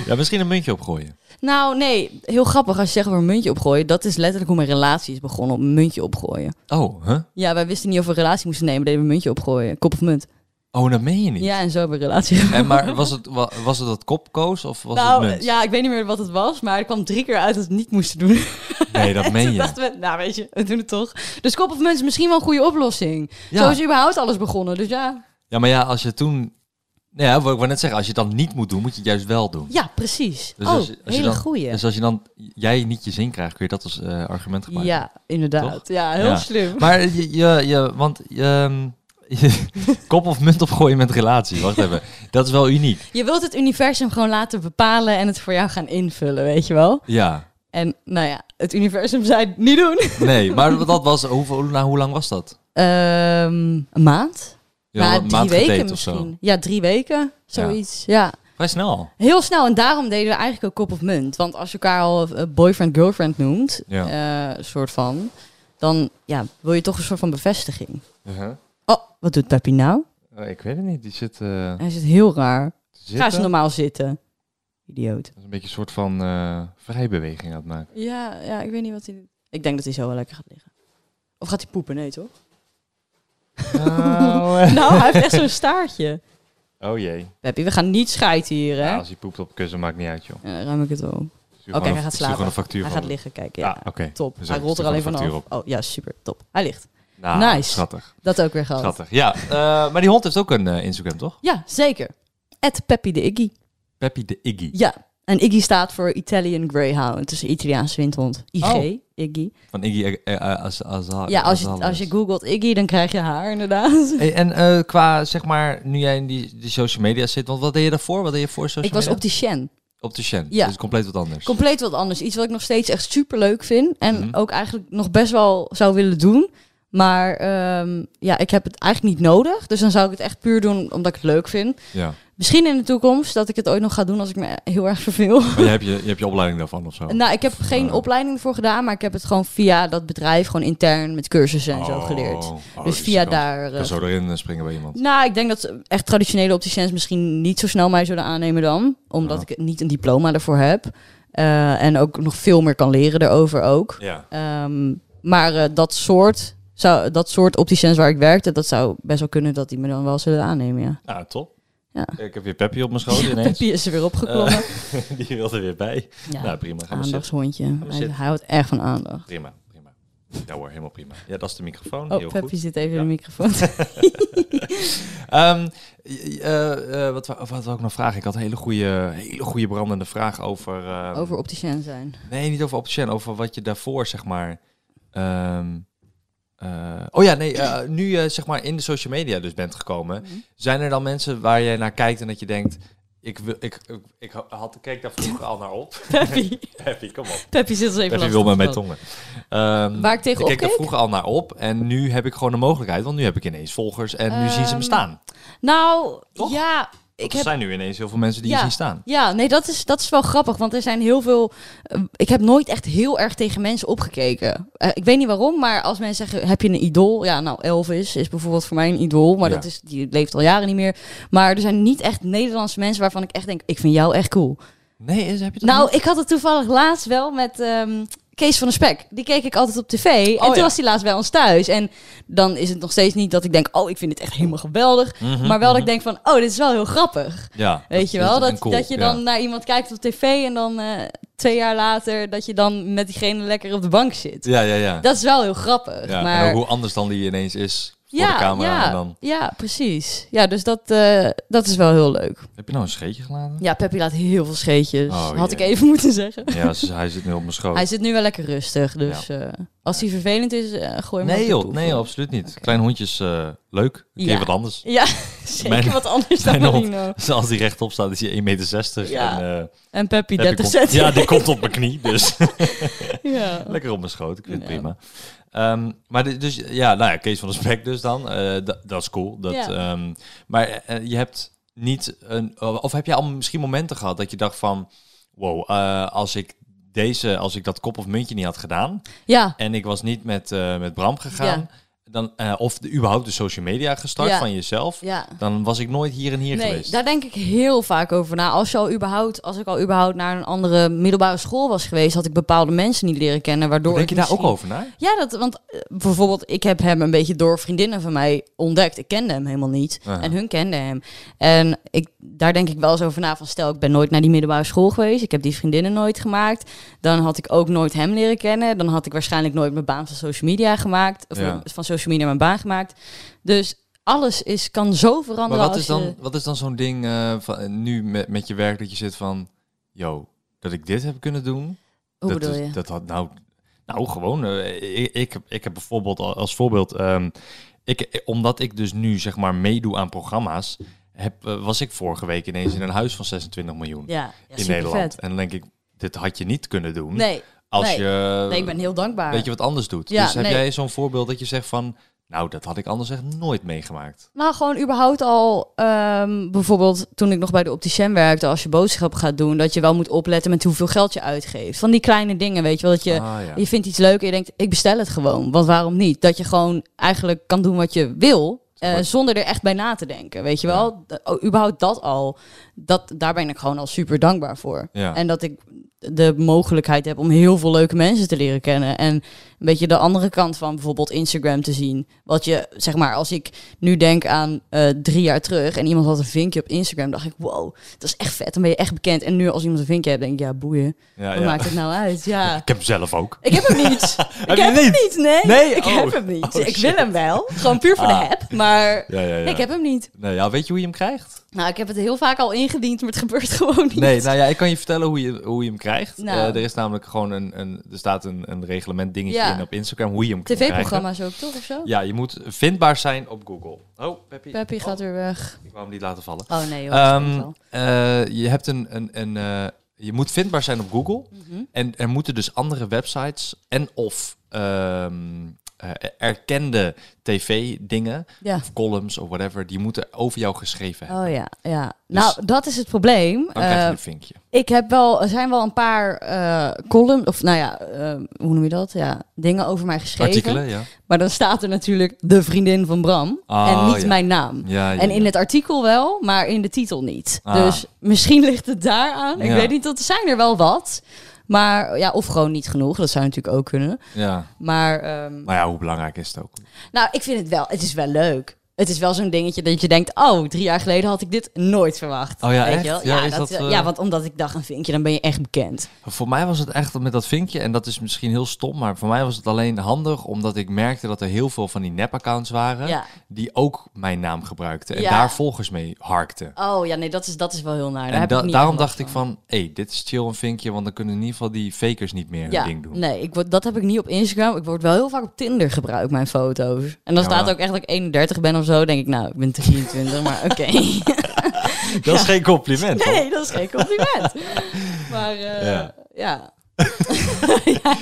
[SPEAKER 1] ja, misschien een muntje opgooien.
[SPEAKER 2] nou, nee. Heel grappig als je zegt over een muntje opgooien. Dat is letterlijk hoe mijn relatie is begonnen. Op een muntje opgooien.
[SPEAKER 1] Oh, hè?
[SPEAKER 2] Ja, wij wisten niet of we een relatie moesten nemen. Deden we een muntje opgooien. Kop of munt.
[SPEAKER 1] Oh, dat meen je niet.
[SPEAKER 2] Ja, en zo hebben we een relatie.
[SPEAKER 1] En maar was het, wa- was het dat kopkoos of was
[SPEAKER 2] nou,
[SPEAKER 1] het munt?
[SPEAKER 2] ja, ik weet niet meer wat het was. Maar er kwam drie keer uit dat we het niet moesten doen.
[SPEAKER 1] Nee, dat meen
[SPEAKER 2] Toen
[SPEAKER 1] je.
[SPEAKER 2] dachten we, nou weet je, we doen het toch. Dus kop of munt is misschien wel een goede oplossing.
[SPEAKER 1] Ja.
[SPEAKER 2] Zo is überhaupt alles begonnen. Dus ja,
[SPEAKER 1] Ja, maar ja, als je toen... Nou ja, wat ik wou net zeggen, als je het dan niet moet doen, moet je het juist wel doen.
[SPEAKER 2] ja precies.
[SPEAKER 1] Dus
[SPEAKER 2] oh,
[SPEAKER 1] als je- als je
[SPEAKER 2] hele
[SPEAKER 1] dan-
[SPEAKER 2] goeie.
[SPEAKER 1] Dus als je dan jij niet je zin krijgt, kun je dat als eh, argument gebruiken.
[SPEAKER 2] Ja, inderdaad.
[SPEAKER 1] Toch?
[SPEAKER 2] Ja, heel
[SPEAKER 1] Ja.
[SPEAKER 2] slim.
[SPEAKER 1] Maar je, je, je- want je, je- kop of munt opgooien met relatie, wacht even. Dat is wel uniek.
[SPEAKER 2] Je wilt het universum gewoon laten bepalen en het voor jou gaan invullen, weet je wel?
[SPEAKER 1] Ja,
[SPEAKER 2] En nou ja, het universum zei niet doen.
[SPEAKER 1] nee, maar dat was, hoeveel, nou, hoe lang was dat?
[SPEAKER 2] Ehm, een maand?
[SPEAKER 1] Ja,
[SPEAKER 2] Nou,
[SPEAKER 1] een maand gedate of zo.
[SPEAKER 2] misschien. Ja, drie weken, zoiets. Ja.
[SPEAKER 1] Vrij snel.
[SPEAKER 2] Heel snel, en daarom deden we eigenlijk ook kop of munt. Want als je elkaar al eh, boyfriend-girlfriend noemt,
[SPEAKER 1] Ja.
[SPEAKER 2] eh, soort van, dan ja, wil je toch een soort van bevestiging. Oh, wat doet Peppy nou?
[SPEAKER 1] Uh-huh. Oh, ik weet het niet, die zit... eh,
[SPEAKER 2] Hij zit heel raar. Ga eens normaal zitten. Idioot.
[SPEAKER 1] een beetje een soort van eh, vrijbeweging aan het maken.
[SPEAKER 2] Ja, ja, ik weet niet wat hij doet. Ik denk dat hij zo wel lekker gaat liggen. Of gaat hij poepen? Nee, toch?
[SPEAKER 1] eh.
[SPEAKER 2] nou, hij heeft echt zo'n staartje.
[SPEAKER 1] oh jee.
[SPEAKER 2] Peppy, we gaan niet schijten hier, hè?
[SPEAKER 1] hij poept op kussen, maakt niet uit, joh.
[SPEAKER 2] Ja, dan ruim ik het wel. op. Oké, hij gaat slapen. Hij gaat liggen, kijk. Ja,
[SPEAKER 1] Ah, oké.
[SPEAKER 2] oké. top.
[SPEAKER 1] Dus
[SPEAKER 2] hij
[SPEAKER 1] ik
[SPEAKER 2] rolt er
[SPEAKER 1] stuur
[SPEAKER 2] alleen
[SPEAKER 1] gewoon de
[SPEAKER 2] vanaf.
[SPEAKER 1] factuur Nou,
[SPEAKER 2] Oh, ja, super, top. Hij ligt. Nice. Oh.
[SPEAKER 1] Schattig,
[SPEAKER 2] Dat ook weer gehad.
[SPEAKER 1] schattig. Ja, eh, maar die hond heeft ook een eh, Instagram, toch?
[SPEAKER 2] Ja, zeker. At Peppy de Iggy.
[SPEAKER 1] Peppy de Iggy.
[SPEAKER 2] Ja, en Iggy staat voor Italian Greyhound. Dus een Italiaanse windhond. IG,
[SPEAKER 1] Oh.
[SPEAKER 2] Iggy.
[SPEAKER 1] Van Iggy eh, eh, Az- Azar-
[SPEAKER 2] Ja, als je,
[SPEAKER 1] Azalea.
[SPEAKER 2] als je googelt Iggy, dan krijg je haar inderdaad.
[SPEAKER 1] Hey, en eh, qua, zeg maar, nu jij in die, die social media zit, want wat deed je daarvoor? Wat deed je voor social
[SPEAKER 2] Ik was
[SPEAKER 1] media?
[SPEAKER 2] opticien.
[SPEAKER 1] op de Shen.
[SPEAKER 2] Ja.
[SPEAKER 1] Dus compleet wat anders.
[SPEAKER 2] Compleet wat anders. Iets wat ik nog steeds echt super leuk vind. En
[SPEAKER 1] Mhm.
[SPEAKER 2] ook eigenlijk nog best wel zou willen doen. Maar ehm, ja, ik heb het eigenlijk niet nodig. Dus dan zou ik het echt puur doen omdat ik het leuk vind.
[SPEAKER 1] ja.
[SPEAKER 2] Misschien in de toekomst dat ik het ooit nog ga doen als ik me heel erg verveel.
[SPEAKER 1] Maar je hebt je, je hebt je opleiding daarvan of zo?
[SPEAKER 2] Nou, ik heb geen
[SPEAKER 1] eh.
[SPEAKER 2] opleiding ervoor gedaan, maar ik heb het gewoon via dat bedrijf, gewoon intern met cursussen en zo
[SPEAKER 1] Oh,
[SPEAKER 2] geleerd.
[SPEAKER 1] oh,
[SPEAKER 2] dus
[SPEAKER 1] je
[SPEAKER 2] via
[SPEAKER 1] kan-
[SPEAKER 2] daar.
[SPEAKER 1] je
[SPEAKER 2] eh,
[SPEAKER 1] kan zo erin eh, springen bij iemand.
[SPEAKER 2] nou, ik denk dat ze echt traditionele opticiens misschien niet zo snel mij zullen aannemen dan. Omdat
[SPEAKER 1] Ja.
[SPEAKER 2] ik niet een diploma ervoor heb. Eh, en ook nog veel meer kan leren erover ook.
[SPEAKER 1] Ja.
[SPEAKER 2] Ehm, maar eh, dat soort... Zou, dat soort opticiens waar ik werkte, dat zou best wel kunnen dat die me dan wel zullen aannemen, ja.
[SPEAKER 1] Nou, top.
[SPEAKER 2] Ja.
[SPEAKER 1] Ik heb weer Peppy op mijn schoot
[SPEAKER 2] ja
[SPEAKER 1] ineens.
[SPEAKER 2] Peppy is er weer opgeklommen.
[SPEAKER 1] Eh, die wil er weer bij.
[SPEAKER 2] ja,
[SPEAKER 1] Nou, prima. Gaan we zitten.
[SPEAKER 2] aandachtshondje.
[SPEAKER 1] maar
[SPEAKER 2] Hij,
[SPEAKER 1] zitten.
[SPEAKER 2] hij houdt echt van aandacht.
[SPEAKER 1] Prima, prima. Ja hoor, helemaal prima. Ja, dat is de microfoon.
[SPEAKER 2] Oh,
[SPEAKER 1] Heel
[SPEAKER 2] Peppy
[SPEAKER 1] goed.
[SPEAKER 2] zit even
[SPEAKER 1] Ja.
[SPEAKER 2] in de microfoon.
[SPEAKER 1] Ehm, j- eh, eh, wat, wou- wat wil ik nog vragen? Ik had een hele goede, hele goede brandende vraag over... ehm,
[SPEAKER 2] Over opticien zijn.
[SPEAKER 1] Nee, niet over opticien. Over wat je daarvoor, zeg maar... ehm, eh, oh ja, nee. eh, nu je, zeg maar, in de social media dus bent gekomen...
[SPEAKER 2] Mhm.
[SPEAKER 1] Zijn er dan mensen waar jij naar kijkt en dat je denkt... Ik, wil, ik, ik, ik had, keek daar vroeger al naar op.
[SPEAKER 2] Peppy.
[SPEAKER 1] Happy, kom op.
[SPEAKER 2] Peppy zit ons even
[SPEAKER 1] Peppy
[SPEAKER 2] lastig
[SPEAKER 1] wil met mijn
[SPEAKER 2] te vallen.
[SPEAKER 1] tongen. Ehm,
[SPEAKER 2] Waar ik
[SPEAKER 1] ik
[SPEAKER 2] tegenop
[SPEAKER 1] keek daar
[SPEAKER 2] keek?
[SPEAKER 1] vroeger al naar op en nu heb ik gewoon de mogelijkheid, want nu heb ik ineens volgers en nu zien ze me
[SPEAKER 2] Ehm,
[SPEAKER 1] staan.
[SPEAKER 2] Nou,
[SPEAKER 1] Toch?
[SPEAKER 2] ja, ik
[SPEAKER 1] Want
[SPEAKER 2] heb
[SPEAKER 1] er zijn nu ineens heel veel mensen die je
[SPEAKER 2] Ja.
[SPEAKER 1] zien staan.
[SPEAKER 2] Ja, nee, dat is, dat is wel grappig. Want er zijn heel veel. eh, ik heb nooit echt heel erg tegen mensen opgekeken. Eh, ik weet niet waarom, maar als mensen zeggen: heb je een idool? Ja, nou, Elvis is bijvoorbeeld voor mij een idool. Maar
[SPEAKER 1] Ja.
[SPEAKER 2] dat is, die leeft al jaren niet meer. Maar er zijn niet echt Nederlandse mensen waarvan ik echt denk: ik vind jou echt cool.
[SPEAKER 1] Nee, is- heb je dat
[SPEAKER 2] Nou,
[SPEAKER 1] niet?
[SPEAKER 2] ik had het toevallig laatst wel met ehm, Kees van der Spek. Die keek ik altijd op tv. en toen
[SPEAKER 1] Oh, ja.
[SPEAKER 2] was hij laatst bij ons thuis. En dan is het nog steeds niet dat ik denk: oh, ik vind dit echt helemaal geweldig.
[SPEAKER 1] Mhm,
[SPEAKER 2] maar wel dat ik denk: van, oh, dit is wel heel grappig.
[SPEAKER 1] ja,
[SPEAKER 2] Weet
[SPEAKER 1] dat-
[SPEAKER 2] je wel,
[SPEAKER 1] is
[SPEAKER 2] dat,
[SPEAKER 1] een cool,
[SPEAKER 2] dat je
[SPEAKER 1] ja.
[SPEAKER 2] dan naar iemand kijkt op tv en dan eh, twee jaar later dat je dan met diegene lekker op de bank zit.
[SPEAKER 1] Ja, ja, ja.
[SPEAKER 2] Dat is wel heel grappig.
[SPEAKER 1] ja.
[SPEAKER 2] maar
[SPEAKER 1] En ook hoe anders dan die ineens is voor de camera.
[SPEAKER 2] ja,
[SPEAKER 1] En dan,
[SPEAKER 2] ja, precies. Ja, dus dat, eh, dat is wel heel leuk.
[SPEAKER 1] heb je nou een scheetje gelaten?
[SPEAKER 2] Ja, Peppy laat heel veel scheetjes.
[SPEAKER 1] Oh,
[SPEAKER 2] Had
[SPEAKER 1] jee.
[SPEAKER 2] ik even moeten zeggen.
[SPEAKER 1] Ja, ze- hij zit nu op mijn schoot.
[SPEAKER 2] Hij zit nu wel lekker rustig, dus eh, Als die vervelend is, eh, gooi hem
[SPEAKER 1] Nee
[SPEAKER 2] op de
[SPEAKER 1] joh,
[SPEAKER 2] poep.
[SPEAKER 1] nee joh, absoluut niet. Klein hondjes, eh, leuk. Een keer
[SPEAKER 2] Ja.
[SPEAKER 1] wat anders.
[SPEAKER 2] Ja, zeker
[SPEAKER 1] Mijn-
[SPEAKER 2] wat anders dan
[SPEAKER 1] Mijn hond,
[SPEAKER 2] Marino.
[SPEAKER 1] als die rechtop staat, is hij 1,60 meter.
[SPEAKER 2] Ja,
[SPEAKER 1] en, eh,
[SPEAKER 2] En Peppy
[SPEAKER 1] heb ik
[SPEAKER 2] 30
[SPEAKER 1] op-
[SPEAKER 2] cent.
[SPEAKER 1] Ja, die komt op mijn knie, dus
[SPEAKER 2] Ja.
[SPEAKER 1] lekker op mijn schoot. Ik vind het
[SPEAKER 2] Oh. Ja.
[SPEAKER 1] prima. Ehm, maar de- dus, ja, nou ja, Kees van der Spek dus dan. eh, da- dat is cool. Dat,
[SPEAKER 2] Ja.
[SPEAKER 1] ehm, maar eh, je hebt niet een... Of heb je al misschien momenten gehad dat je dacht van... Wow, eh, als ik deze, als ik dat kop of muntje niet had gedaan...
[SPEAKER 2] ja,
[SPEAKER 1] en ik was niet met, eh, met Bram gegaan... Dan, eh, of de, überhaupt de social media gestart
[SPEAKER 2] Ja.
[SPEAKER 1] van jezelf...
[SPEAKER 2] ja.
[SPEAKER 1] dan was ik nooit hier en hier
[SPEAKER 2] Nee,
[SPEAKER 1] geweest.
[SPEAKER 2] daar denk ik heel vaak over na. Als, je al überhaupt, als ik al überhaupt naar een andere middelbare school was geweest, had ik bepaalde mensen niet leren kennen. Waardoor
[SPEAKER 1] Denk
[SPEAKER 2] ik
[SPEAKER 1] je daar ook
[SPEAKER 2] misschien-
[SPEAKER 1] over na?
[SPEAKER 2] Ja, dat, want eh, bijvoorbeeld, ik heb hem een beetje door vriendinnen van mij ontdekt. Ik kende hem helemaal niet.
[SPEAKER 1] Aha.
[SPEAKER 2] En hun kenden hem. En ik, daar denk ik wel eens over na van, stel, ik ben nooit naar die middelbare school geweest. Ik heb die vriendinnen nooit gemaakt. Dan had ik ook nooit hem leren kennen. Dan had ik waarschijnlijk nooit mijn baan van social media gemaakt. Of
[SPEAKER 1] Ja.
[SPEAKER 2] van social media mijn baan gemaakt. Dus alles is, kan zo veranderen
[SPEAKER 1] Maar wat
[SPEAKER 2] als
[SPEAKER 1] is dan,
[SPEAKER 2] je...
[SPEAKER 1] wat is dan zo'n ding eh, van, nu met, met je werk dat je zit van, yo, dat ik dit heb kunnen doen?
[SPEAKER 2] Hoe
[SPEAKER 1] dat,
[SPEAKER 2] bedoel
[SPEAKER 1] is-
[SPEAKER 2] je?
[SPEAKER 1] dat had nou, nou gewoon, eh, ik, ik, heb- ik heb bijvoorbeeld al- als voorbeeld, ehm, ik, eh, omdat ik dus nu zeg maar meedoe aan programma's, heb, eh, was ik vorige week ineens in een huis van 26 miljoen
[SPEAKER 2] Ja, ja
[SPEAKER 1] in
[SPEAKER 2] super
[SPEAKER 1] Nederland.
[SPEAKER 2] vet.
[SPEAKER 1] En dan denk ik, dit had je niet kunnen doen
[SPEAKER 2] Nee,
[SPEAKER 1] als
[SPEAKER 2] nee.
[SPEAKER 1] je
[SPEAKER 2] nee, ik ben heel dankbaar.
[SPEAKER 1] weet je wat anders doet.
[SPEAKER 2] Ja,
[SPEAKER 1] dus heb
[SPEAKER 2] nee.
[SPEAKER 1] jij zo'n voorbeeld dat je zegt van, nou, dat had ik anders echt nooit meegemaakt.
[SPEAKER 2] Nou, gewoon überhaupt al, ehm, bijvoorbeeld toen ik nog bij de opticien werkte, als je boodschappen gaat doen, dat je wel moet opletten met hoeveel geld je uitgeeft. Van die kleine dingen, weet je wel, dat je,
[SPEAKER 1] Ah, ja.
[SPEAKER 2] je vindt iets leuk en je denkt, ik bestel het gewoon, want waarom niet? Dat je gewoon eigenlijk kan doen wat je wil, eh,
[SPEAKER 1] Maar-
[SPEAKER 2] zonder er echt bij na te denken, weet je wel? D- oh, überhaupt dat al, dat, daar ben ik gewoon al super dankbaar voor.
[SPEAKER 1] Ja.
[SPEAKER 2] En dat ik de mogelijkheid heb om heel veel leuke mensen te leren kennen. En een beetje de andere kant van bijvoorbeeld Instagram te zien. Wat je, zeg maar, als ik nu denk aan eh, drie jaar terug en iemand had een vinkje op Instagram, dacht ik, wow, dat is echt vet, dan ben je echt bekend. En nu als iemand een vinkje hebt, denk ik, ja, boeien,
[SPEAKER 1] Ja,
[SPEAKER 2] wat
[SPEAKER 1] ja.
[SPEAKER 2] maakt het nou uit? Ja.
[SPEAKER 1] Ik heb hem zelf ook.
[SPEAKER 2] Ik heb hem niet. ik
[SPEAKER 1] je
[SPEAKER 2] heb hem niet, nee.
[SPEAKER 1] Nee?
[SPEAKER 2] Ik
[SPEAKER 1] Oh.
[SPEAKER 2] heb hem niet.
[SPEAKER 1] Oh,
[SPEAKER 2] ik
[SPEAKER 1] shit.
[SPEAKER 2] wil hem wel, gewoon puur voor de
[SPEAKER 1] Ah.
[SPEAKER 2] app, maar
[SPEAKER 1] Ja, ja, ja.
[SPEAKER 2] ik heb hem niet.
[SPEAKER 1] Nee, ja, weet je hoe je hem krijgt?
[SPEAKER 2] Nou, ik heb het heel vaak al ingediend, maar het gebeurt gewoon niet.
[SPEAKER 1] Nee, nou ja, ik kan je vertellen hoe je, hoe je hem krijgt.
[SPEAKER 2] Nou.
[SPEAKER 1] Eh, er is namelijk gewoon een, een er staat een, een reglement dingetje
[SPEAKER 2] Ja.
[SPEAKER 1] in op Instagram hoe je hem kan krijgen.
[SPEAKER 2] TV-programma's ook, toch, of zo?
[SPEAKER 1] Ja, je moet vindbaar zijn op Google. Oh, Peppy.
[SPEAKER 2] Peppy gaat weer weg.
[SPEAKER 1] Ik wou hem niet laten vallen.
[SPEAKER 2] Oh nee, joh. dat
[SPEAKER 1] Ehm,
[SPEAKER 2] komt wel.
[SPEAKER 1] eh, je hebt een, een, een eh, je moet vindbaar zijn op Google.
[SPEAKER 2] Mhm.
[SPEAKER 1] En er moeten dus andere websites en of ehm, eh, erkende tv-dingen,
[SPEAKER 2] Ja.
[SPEAKER 1] of columns of whatever, die moeten over jou geschreven hebben.
[SPEAKER 2] Oh ja, ja.
[SPEAKER 1] Dus- Oh,
[SPEAKER 2] nou, dat is het probleem.
[SPEAKER 1] Dan krijg je
[SPEAKER 2] Eh,
[SPEAKER 1] een vinkje.
[SPEAKER 2] ik heb wel, er zijn wel een paar eh columns, of nou ja, eh, hoe noem je dat? Ja, dingen over mij geschreven.
[SPEAKER 1] Artikelen, ja.
[SPEAKER 2] Maar dan staat er natuurlijk de vriendin van Bram
[SPEAKER 1] Ah,
[SPEAKER 2] en niet
[SPEAKER 1] ja.
[SPEAKER 2] mijn naam.
[SPEAKER 1] Ja, ja,
[SPEAKER 2] En in
[SPEAKER 1] Ah, ja.
[SPEAKER 2] het artikel wel, maar in de titel niet.
[SPEAKER 1] Ah.
[SPEAKER 2] Dus misschien ligt het daaraan. Ik
[SPEAKER 1] Ja.
[SPEAKER 2] weet niet, dat zijn er wel wat. Maar ja, of gewoon niet genoeg. Dat zou natuurlijk ook kunnen.
[SPEAKER 1] ja.
[SPEAKER 2] Maar ehm,
[SPEAKER 1] Maar ja, hoe belangrijk is het ook?
[SPEAKER 2] Nou, ik vind het wel. Het is wel leuk. Het is wel zo'n dingetje dat je denkt, oh, drie jaar geleden had ik dit nooit verwacht.
[SPEAKER 1] Oh ja,
[SPEAKER 2] Weet
[SPEAKER 1] echt?
[SPEAKER 2] je wel?
[SPEAKER 1] Ja,
[SPEAKER 2] Ja,
[SPEAKER 1] is
[SPEAKER 2] dat,
[SPEAKER 1] dat, eh,
[SPEAKER 2] ja, want omdat ik dacht een vinkje, dan ben je echt bekend.
[SPEAKER 1] Voor mij was het echt met dat vinkje, en dat is misschien heel stom, maar voor mij was het alleen handig omdat ik merkte dat er heel veel van die nep-accounts waren
[SPEAKER 2] Ja.
[SPEAKER 1] die ook mijn naam gebruikten en
[SPEAKER 2] Ja.
[SPEAKER 1] daar volgers mee harkten.
[SPEAKER 2] Oh ja, nee, dat is, dat is wel heel naar. Daar
[SPEAKER 1] en
[SPEAKER 2] heb
[SPEAKER 1] da-
[SPEAKER 2] ik niet
[SPEAKER 1] daarom
[SPEAKER 2] echt last
[SPEAKER 1] dacht ik van, hé, hey, dit is chill een vinkje, want dan kunnen in ieder geval die fakers niet meer
[SPEAKER 2] Ja,
[SPEAKER 1] hun ding doen.
[SPEAKER 2] nee, ik word, dat heb ik niet op Instagram. Ik word wel heel vaak op Tinder gebruikt, mijn foto's. En dan
[SPEAKER 1] Ja,
[SPEAKER 2] staat
[SPEAKER 1] maar-
[SPEAKER 2] ook echt dat ik 31 ben of zo. denk ik, nou, ik ben 23, maar oké.
[SPEAKER 1] Dat is geen compliment. hoor.
[SPEAKER 2] Nee, dat is geen compliment. Maar eh,
[SPEAKER 1] Ja.
[SPEAKER 2] ja. Ja.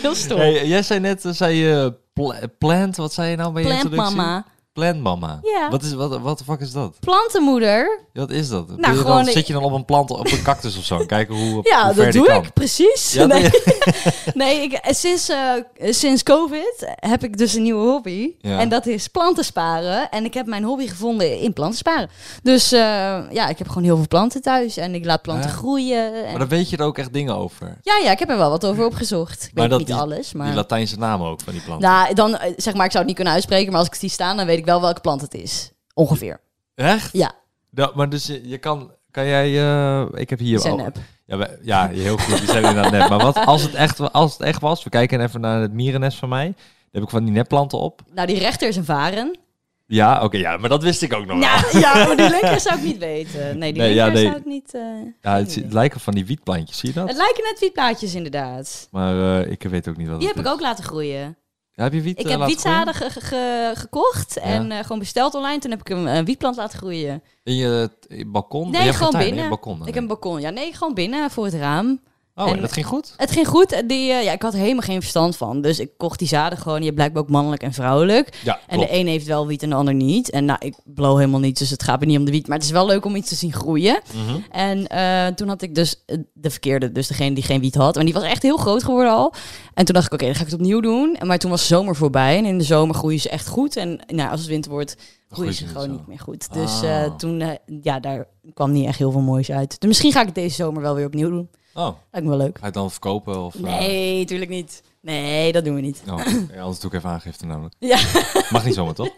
[SPEAKER 2] heel stom.
[SPEAKER 1] Hey, jij zei net, eh, zei je pla- plant, wat zei je nou bij je
[SPEAKER 2] Plant
[SPEAKER 1] introductie?
[SPEAKER 2] mama.
[SPEAKER 1] Plant mama.
[SPEAKER 2] Ja.
[SPEAKER 1] Wat is wat wat de fuck is dat?
[SPEAKER 2] Plantenmoeder,
[SPEAKER 1] Wat is dat? Doe je
[SPEAKER 2] Nou,
[SPEAKER 1] dan-
[SPEAKER 2] gewoon-
[SPEAKER 1] zit je dan op een plant, op een cactus of zo, en kijken hoe,
[SPEAKER 2] Ja,
[SPEAKER 1] hoe ver
[SPEAKER 2] dat
[SPEAKER 1] die
[SPEAKER 2] doe
[SPEAKER 1] kan?
[SPEAKER 2] ik, precies.
[SPEAKER 1] Ja,
[SPEAKER 2] nee,
[SPEAKER 1] dat-
[SPEAKER 2] nee ik, eh, sinds, eh, sinds COVID heb ik dus een nieuwe hobby.
[SPEAKER 1] Ja.
[SPEAKER 2] En dat is planten sparen. En ik heb mijn hobby gevonden in planten sparen. Dus eh, ja, ik heb gewoon heel veel planten thuis. En ik laat planten
[SPEAKER 1] Ja.
[SPEAKER 2] groeien. En...
[SPEAKER 1] Maar daar weet je er ook echt dingen over.
[SPEAKER 2] Ja, ja, ik heb er wel wat over opgezocht. Ik
[SPEAKER 1] Maar
[SPEAKER 2] weet
[SPEAKER 1] dat
[SPEAKER 2] niet
[SPEAKER 1] die-
[SPEAKER 2] alles,
[SPEAKER 1] Die
[SPEAKER 2] maar...
[SPEAKER 1] Latijnse naam ook van die plant.
[SPEAKER 2] Nou, dan, eh, zeg maar, ik zou het niet kunnen uitspreken. Maar als ik het zie staan, dan weet ik wel welke plant het is. Ongeveer.
[SPEAKER 1] Echt?
[SPEAKER 2] Ja,
[SPEAKER 1] Ja, maar dus je, je kan... Kan jij... eh, ik heb hier...
[SPEAKER 2] Die zijn
[SPEAKER 1] al-
[SPEAKER 2] nep.
[SPEAKER 1] Ja, wij- ja, heel goed. Die zijn inderdaad nep. Maar wat, als, het echt, wa- als het echt was... We kijken even naar het mierennest van mij. Daar heb ik van die nepplanten op.
[SPEAKER 2] nou die rechter is een varen.
[SPEAKER 1] Ja, oké. ja, maar dat wist ik ook nog wel.
[SPEAKER 2] Ja, ja, maar die linker zou ik niet weten. Nee, die
[SPEAKER 1] Nee, ja,
[SPEAKER 2] linker
[SPEAKER 1] nee.
[SPEAKER 2] zou ik niet... eh,
[SPEAKER 1] Ja,
[SPEAKER 2] geen
[SPEAKER 1] het,
[SPEAKER 2] idee.
[SPEAKER 1] het lijken van die wietplantjes. Zie je dat?
[SPEAKER 2] Het lijken net wietplaatjes inderdaad.
[SPEAKER 1] Maar eh, ik weet ook niet wat
[SPEAKER 2] Die
[SPEAKER 1] het
[SPEAKER 2] heb ik
[SPEAKER 1] is.
[SPEAKER 2] ook laten groeien.
[SPEAKER 1] Ja, heb je wiet
[SPEAKER 2] Ik
[SPEAKER 1] eh,
[SPEAKER 2] heb
[SPEAKER 1] laten groeien?
[SPEAKER 2] wietzaden ge- ge- ge- gekocht en eh, gewoon besteld online. Toen heb ik een eh, wietplant laten groeien.
[SPEAKER 1] In je, eh, in je balkon?
[SPEAKER 2] Nee,
[SPEAKER 1] je hebt
[SPEAKER 2] gewoon
[SPEAKER 1] tuin, hè?
[SPEAKER 2] binnen.
[SPEAKER 1] Je hebt balkon dan,
[SPEAKER 2] Ik heb een balkon. Ja, nee, gewoon binnen voor het raam.
[SPEAKER 1] Oh, en
[SPEAKER 2] en-
[SPEAKER 1] dat ging goed?
[SPEAKER 2] Het ging goed. En Die, eh, ja, ik had er helemaal geen verstand van. Dus ik kocht die zaden gewoon. Je hebt blijkbaar ook mannelijk en vrouwelijk.
[SPEAKER 1] Ja,
[SPEAKER 2] En de een heeft wel wiet en de ander niet. En nou, ik blow helemaal niet, dus het gaat me niet om de wiet. Maar het is wel leuk om iets te zien groeien. En eh, toen had ik dus eh, de verkeerde, dus degene die geen wiet had. En die was echt heel groot geworden al. En toen dacht ik, oké, dan ga ik het opnieuw doen. En Maar toen was de zomer voorbij en in de zomer groeien ze echt goed. En nou, als het winter wordt, groeien
[SPEAKER 1] groeien
[SPEAKER 2] ze
[SPEAKER 1] ze
[SPEAKER 2] gewoon
[SPEAKER 1] niet zo.
[SPEAKER 2] niet meer goed. Dus
[SPEAKER 1] Ah.
[SPEAKER 2] eh, toen, eh, ja, daar kwam niet echt heel veel moois uit. Dus misschien ga ik het deze zomer wel weer opnieuw doen.
[SPEAKER 1] Oh,
[SPEAKER 2] Lijkt me wel leuk.
[SPEAKER 1] ga je het dan verkopen? Of, eh,
[SPEAKER 2] e- Nee, tuurlijk niet. Nee, dat doen we niet.
[SPEAKER 1] oh, ja, anders doe ik even aangifte namelijk.
[SPEAKER 2] Ja.
[SPEAKER 1] Mag niet zomaar, toch?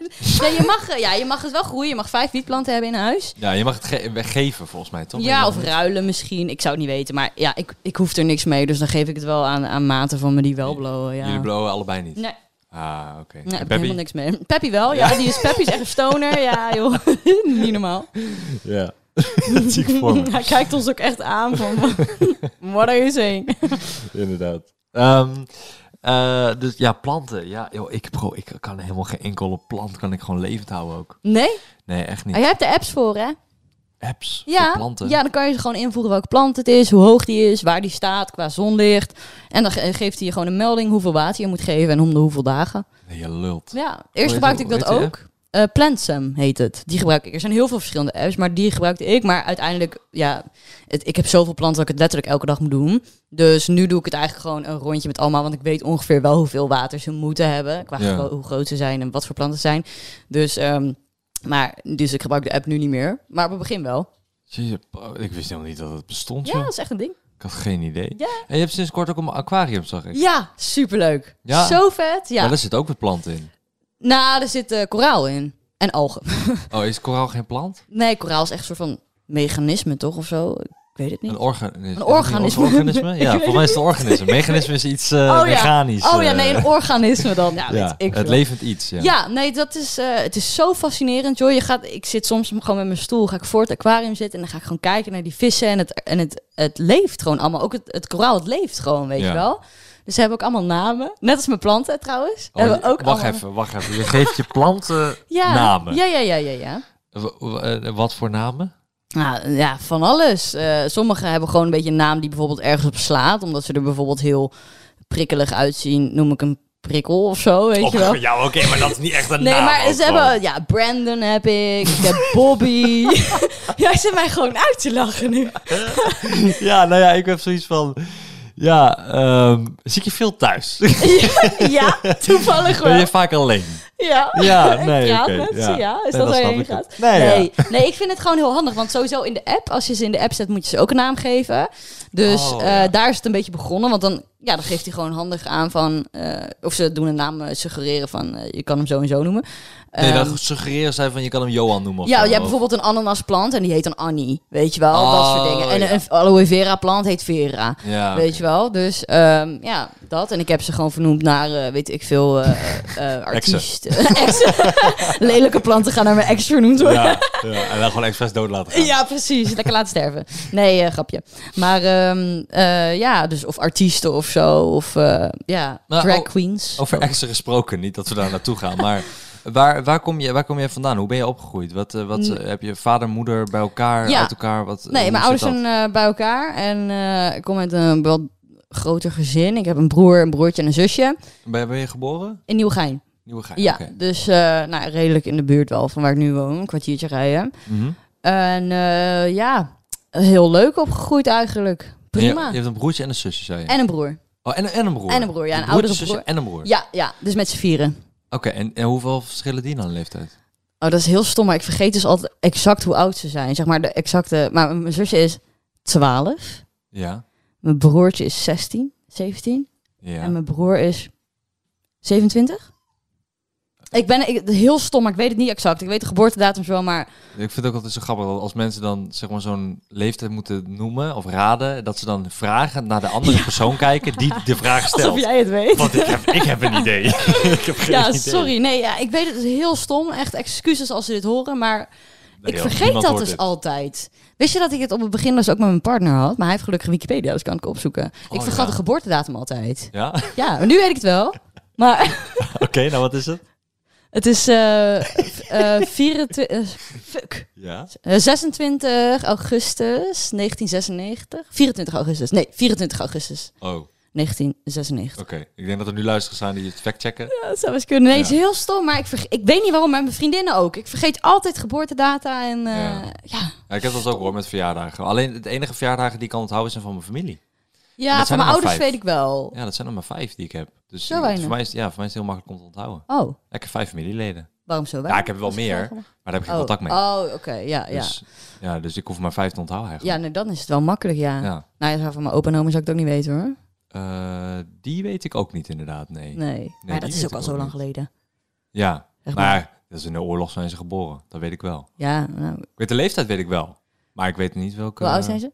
[SPEAKER 2] Nee, je mag, eh, ja, je mag het wel groeien. Je mag vijf wietplanten hebben in huis.
[SPEAKER 1] Ja, je mag het ge- weggeven volgens mij, toch?
[SPEAKER 2] Ja,
[SPEAKER 1] Je
[SPEAKER 2] of
[SPEAKER 1] mag-
[SPEAKER 2] ruilen misschien. Ik zou het niet weten. Maar ja, ik, ik hoef er niks mee. Dus dan geef ik het wel aan, aan maten van me die wel blowen. Ja.
[SPEAKER 1] Jullie blowen allebei niet?
[SPEAKER 2] Nee,
[SPEAKER 1] Ah, oké.
[SPEAKER 2] nee,
[SPEAKER 1] En
[SPEAKER 2] heb ik
[SPEAKER 1] Peppy?
[SPEAKER 2] helemaal niks mee. Peppy wel, ja. Die is, Peppy is echt een stoner. Ja, joh. niet normaal.
[SPEAKER 1] Ja, dat zie ik voor me.
[SPEAKER 2] Hij kijkt ons ook echt aan van... What are you saying?
[SPEAKER 1] Inderdaad. Ehm, eh, dus ja, planten. Ja, joh, ik, bro, ik kan helemaal geen enkele plant kan ik gewoon levend houden ook.
[SPEAKER 2] Nee?
[SPEAKER 1] Nee, echt
[SPEAKER 2] Ah,
[SPEAKER 1] niet.
[SPEAKER 2] jij hebt de apps voor, hè?
[SPEAKER 1] Apps
[SPEAKER 2] Ja,
[SPEAKER 1] voor planten.
[SPEAKER 2] ja, dan kan je ze gewoon invoeren welke plant het is, hoe hoog die is, waar die staat qua zonlicht. En dan ge- geeft hij je gewoon een melding hoeveel water je moet geven en om de hoeveel dagen.
[SPEAKER 1] Nee, je lult.
[SPEAKER 2] Ja,
[SPEAKER 1] heet-
[SPEAKER 2] eerst gebruikte ik
[SPEAKER 1] hoe
[SPEAKER 2] dat
[SPEAKER 1] heet die
[SPEAKER 2] ook. Eh Plantsum heet het. Die gebruik ik. Er zijn heel veel verschillende apps, maar die gebruikte ik. Maar uiteindelijk, ja, het, ik heb zoveel planten dat ik het letterlijk elke dag moet doen. Dus nu doe ik het eigenlijk gewoon een rondje met allemaal. Want ik weet ongeveer wel hoeveel water ze moeten hebben. Qua
[SPEAKER 1] Ja.
[SPEAKER 2] gro- hoe groot ze zijn en wat voor planten het zijn. Dus, ehm, maar, dus ik gebruik de app nu niet meer. Maar op het begin wel.
[SPEAKER 1] Jezus, bro, ik wist helemaal niet dat het bestond,
[SPEAKER 2] Ja,
[SPEAKER 1] joh.
[SPEAKER 2] dat is echt een ding.
[SPEAKER 1] Ik had geen idee.
[SPEAKER 2] Ja.
[SPEAKER 1] En je hebt sinds kort ook een aquarium, zag ik.
[SPEAKER 2] Ja, superleuk.
[SPEAKER 1] Ja.
[SPEAKER 2] Zo vet. Ja.
[SPEAKER 1] Maar daar zit ook weer planten in.
[SPEAKER 2] Nou, er zit eh, koraal in. En algen.
[SPEAKER 1] Oh, is koraal geen plant?
[SPEAKER 2] Nee, koraal is echt een soort van mechanisme, toch? Of zo? Ik weet het niet.
[SPEAKER 1] Een organisme.
[SPEAKER 2] Een organisme.
[SPEAKER 1] Een organisme?
[SPEAKER 2] Ik
[SPEAKER 1] Ja,
[SPEAKER 2] weet
[SPEAKER 1] volgens mij is het een organisme. Mechanisme is iets eh,
[SPEAKER 2] ja.
[SPEAKER 1] mechanisch.
[SPEAKER 2] oh ja,
[SPEAKER 1] eh,
[SPEAKER 2] nee, een organisme dan. Ja,
[SPEAKER 1] ja,
[SPEAKER 2] weet ik
[SPEAKER 1] het
[SPEAKER 2] veel.
[SPEAKER 1] levend iets. Ja.
[SPEAKER 2] Ja, nee, dat is, eh, het is zo fascinerend, joh. Je gaat, ik zit soms gewoon met mijn stoel, ga ik voor het aquarium zitten... en dan ga ik gewoon kijken naar die vissen en het, en het, het leeft gewoon allemaal. Ook het, het koraal, het leeft gewoon, weet
[SPEAKER 1] Ja.
[SPEAKER 2] je wel. Dus ze hebben ook allemaal namen. Net als mijn planten, trouwens.
[SPEAKER 1] Oh,
[SPEAKER 2] hebben
[SPEAKER 1] je-
[SPEAKER 2] ook
[SPEAKER 1] wacht
[SPEAKER 2] allemaal-
[SPEAKER 1] even, wacht even. Je geeft je planten
[SPEAKER 2] ja,
[SPEAKER 1] namen.
[SPEAKER 2] Ja, ja, ja, ja, ja.
[SPEAKER 1] W- w- eh, wat voor namen?
[SPEAKER 2] Nou, ja, van alles. Eh, sommigen hebben gewoon een beetje een naam die bijvoorbeeld ergens op slaat. Omdat ze er bijvoorbeeld heel prikkelig uitzien. Noem ik een prikkel of zo, weet je wel.
[SPEAKER 1] ja, oké, maar dat is niet echt een
[SPEAKER 2] Nee, maar
[SPEAKER 1] ook
[SPEAKER 2] ze
[SPEAKER 1] gewoon.
[SPEAKER 2] hebben... Ja, Brandon heb ik. Ik heb Bobby. Jij zit mij gewoon uit te lachen nu.
[SPEAKER 1] Ja, nou ja, ik heb zoiets van... Ja, ehm zie ik je veel thuis?
[SPEAKER 2] ja, toevallig
[SPEAKER 1] ben
[SPEAKER 2] wel.
[SPEAKER 1] je vaak alleen?
[SPEAKER 2] Ja.
[SPEAKER 1] Ja, nee,
[SPEAKER 2] ik praat
[SPEAKER 1] oké,
[SPEAKER 2] met
[SPEAKER 1] ja.
[SPEAKER 2] ze, ja.
[SPEAKER 1] Nee,
[SPEAKER 2] Is
[SPEAKER 1] dan
[SPEAKER 2] dat waar je
[SPEAKER 1] snap
[SPEAKER 2] heen
[SPEAKER 1] ik het.
[SPEAKER 2] gaat?
[SPEAKER 1] Nee, ja.
[SPEAKER 2] nee. nee, ik vind het gewoon heel handig. Want sowieso in de app, als je ze in de app zet, moet je ze ook een naam geven. Dus
[SPEAKER 1] Oh,
[SPEAKER 2] eh,
[SPEAKER 1] ja.
[SPEAKER 2] daar is het een beetje begonnen. Want dan, ja, dan geeft hij gewoon handig aan van... eh, of ze doen een naam eh, suggereren van, eh, je kan hem zo en zo noemen.
[SPEAKER 1] Nee,
[SPEAKER 2] Ehm,
[SPEAKER 1] dan suggereren zij van je kan hem Johan noemen of
[SPEAKER 2] ja,
[SPEAKER 1] zo,
[SPEAKER 2] je hebt
[SPEAKER 1] of-
[SPEAKER 2] bijvoorbeeld een ananasplant en die heet dan Annie. Weet je wel, dat
[SPEAKER 1] Oh,
[SPEAKER 2] soort dingen. En
[SPEAKER 1] ja.
[SPEAKER 2] een aloe vera plant heet Vera.
[SPEAKER 1] Ja,
[SPEAKER 2] Weet je wel, dus ehm, ja, dat. En ik heb ze gewoon vernoemd naar, eh, weet ik veel, eh eh, artiest. Exen. Lelijke planten gaan naar mijn ex vernoemd worden.
[SPEAKER 1] Ja, ja, en dan gewoon expres dood laten gaan.
[SPEAKER 2] Ja, precies. Lekker laten sterven. Nee, eh, grapje. Maar ehm, eh, ja, dus of artiesten of zo. Of eh, ja,
[SPEAKER 1] Maar oh,
[SPEAKER 2] drag
[SPEAKER 1] o-
[SPEAKER 2] queens.
[SPEAKER 1] Over exen gesproken, niet dat we daar naartoe gaan, maar... Waar, waar, kom je, waar kom je vandaan? Hoe ben je opgegroeid? Wat, eh, wat, eh, heb je vader, moeder bij elkaar,
[SPEAKER 2] Mm. Ja.
[SPEAKER 1] uit elkaar? Wat,
[SPEAKER 2] Nee,
[SPEAKER 1] hoe
[SPEAKER 2] mijn
[SPEAKER 1] zit
[SPEAKER 2] ouders zijn eh, bij elkaar. En eh, ik kom uit een wat groter gezin. Ik heb een broer, een broertje en een zusje.
[SPEAKER 1] dat? Ben, ben je geboren?
[SPEAKER 2] In Nieuwegein.
[SPEAKER 1] Nieuwegein?
[SPEAKER 2] Ja,
[SPEAKER 1] Ah, oké.
[SPEAKER 2] dus eh, nou, redelijk in de buurt wel van waar ik nu woon. Een kwartiertje rijden.
[SPEAKER 1] Mhm.
[SPEAKER 2] En eh, ja, heel leuk opgegroeid eigenlijk.
[SPEAKER 1] En je-
[SPEAKER 2] Prima.
[SPEAKER 1] Je, hebt een broertje en een zusje, zei je?
[SPEAKER 2] En een broer.
[SPEAKER 1] oh, en, en een broer?
[SPEAKER 2] en een broer, ja, een
[SPEAKER 1] broertje,
[SPEAKER 2] oudere
[SPEAKER 1] zusje
[SPEAKER 2] broer.
[SPEAKER 1] en een broer?
[SPEAKER 2] Ja, ja, dus met z'n vieren.
[SPEAKER 1] Oké, en, en hoeveel verschillen die dan in leeftijd?
[SPEAKER 2] Oh, dat is heel stom, maar ik vergeet dus altijd exact hoe oud ze zijn. Zeg maar de exacte. Maar mijn zusje is 12.
[SPEAKER 1] Ja.
[SPEAKER 2] Mijn broertje is 16, 17.
[SPEAKER 1] Ja.
[SPEAKER 2] En mijn broer is 27. Ik ben ik, heel stom, maar ik weet het niet exact. Ik weet de geboortedatums wel, maar
[SPEAKER 1] Ik vind het ook altijd zo grappig dat als mensen dan zeg maar zo'n leeftijd moeten noemen of raden, dat ze dan vragen naar de andere persoon kijken die de vraag
[SPEAKER 2] alsof
[SPEAKER 1] stelt.
[SPEAKER 2] jij het weet.
[SPEAKER 1] Want ik heb, ik heb een idee. ik heb geen
[SPEAKER 2] ja,
[SPEAKER 1] idee.
[SPEAKER 2] sorry. Nee, ja, ik weet het, het is heel stom. Echt excuses als ze dit horen, maar
[SPEAKER 1] Nee,
[SPEAKER 2] ik
[SPEAKER 1] joh,
[SPEAKER 2] vergeet
[SPEAKER 1] niemand
[SPEAKER 2] dat
[SPEAKER 1] hoort
[SPEAKER 2] dus
[SPEAKER 1] dit.
[SPEAKER 2] altijd. Wist je dat ik het op het begin dus ook met mijn partner had? Maar hij heeft gelukkig Wikipedia, dus kan ik opzoeken. ik
[SPEAKER 1] Oh,
[SPEAKER 2] vergat
[SPEAKER 1] ja.
[SPEAKER 2] de geboortedatum altijd.
[SPEAKER 1] Ja?
[SPEAKER 2] Ja, maar nu weet ik het wel. Maar
[SPEAKER 1] Oké, nou wat is het?
[SPEAKER 2] het is eh, v- eh, 24... eh, fuck.
[SPEAKER 1] Ja.
[SPEAKER 2] Eh, 26 augustus 1996. 24 augustus. Nee, 24 augustus
[SPEAKER 1] Oh, oké.
[SPEAKER 2] 1996.
[SPEAKER 1] Ik denk dat er nu luisteraars zijn die het factchecken.
[SPEAKER 2] Ja, dat zou eens kunnen. Nee, het is
[SPEAKER 1] Ja.
[SPEAKER 2] heel stom, maar ik, verge- ik weet niet waarom, maar mijn vriendinnen ook. Ik vergeet altijd geboortedata en eh,
[SPEAKER 1] Ja.
[SPEAKER 2] ja.
[SPEAKER 1] Ja, ik heb dat ook hoor met verjaardagen. Alleen de enige verjaardagen die ik kan onthouden zijn van mijn familie.
[SPEAKER 2] Ja,
[SPEAKER 1] Dat
[SPEAKER 2] van
[SPEAKER 1] zijn
[SPEAKER 2] mijn
[SPEAKER 1] er maar
[SPEAKER 2] ouders
[SPEAKER 1] vijf.
[SPEAKER 2] weet ik wel.
[SPEAKER 1] Ja, dat zijn er maar vijf die ik heb. Dus
[SPEAKER 2] Zo
[SPEAKER 1] het-
[SPEAKER 2] weinig.
[SPEAKER 1] Voor mij is, ja, voor mij is het heel makkelijk om te onthouden.
[SPEAKER 2] Oh,
[SPEAKER 1] Ik heb vijf familieleden.
[SPEAKER 2] waarom zo wel?
[SPEAKER 1] Ja, ik heb wel meer, maar daar heb ik geen
[SPEAKER 2] oh.
[SPEAKER 1] contact mee.
[SPEAKER 2] Oh, oké, ja, ja.
[SPEAKER 1] Dus, ja, dus ik hoef maar vijf te onthouden
[SPEAKER 2] ja,
[SPEAKER 1] eigenlijk.
[SPEAKER 2] nee, dan is het wel makkelijk, ja.
[SPEAKER 1] Ja.
[SPEAKER 2] Nou ja, van mijn opa en oma zou ik het ook niet weten, hoor.
[SPEAKER 1] Eh, die weet ik ook niet inderdaad, nee.
[SPEAKER 2] Nee, maar dat
[SPEAKER 1] die
[SPEAKER 2] is
[SPEAKER 1] weet
[SPEAKER 2] ook al
[SPEAKER 1] ik
[SPEAKER 2] zo
[SPEAKER 1] ook
[SPEAKER 2] lang
[SPEAKER 1] niet.
[SPEAKER 2] geleden.
[SPEAKER 1] Ja,
[SPEAKER 2] Echt
[SPEAKER 1] maar dat is in de oorlog zijn ze geboren. Dat weet ik wel.
[SPEAKER 2] Ja, nou,
[SPEAKER 1] Ik weet de leeftijd weet ik wel. Maar ik weet niet welke...
[SPEAKER 2] hoe oud zijn ze?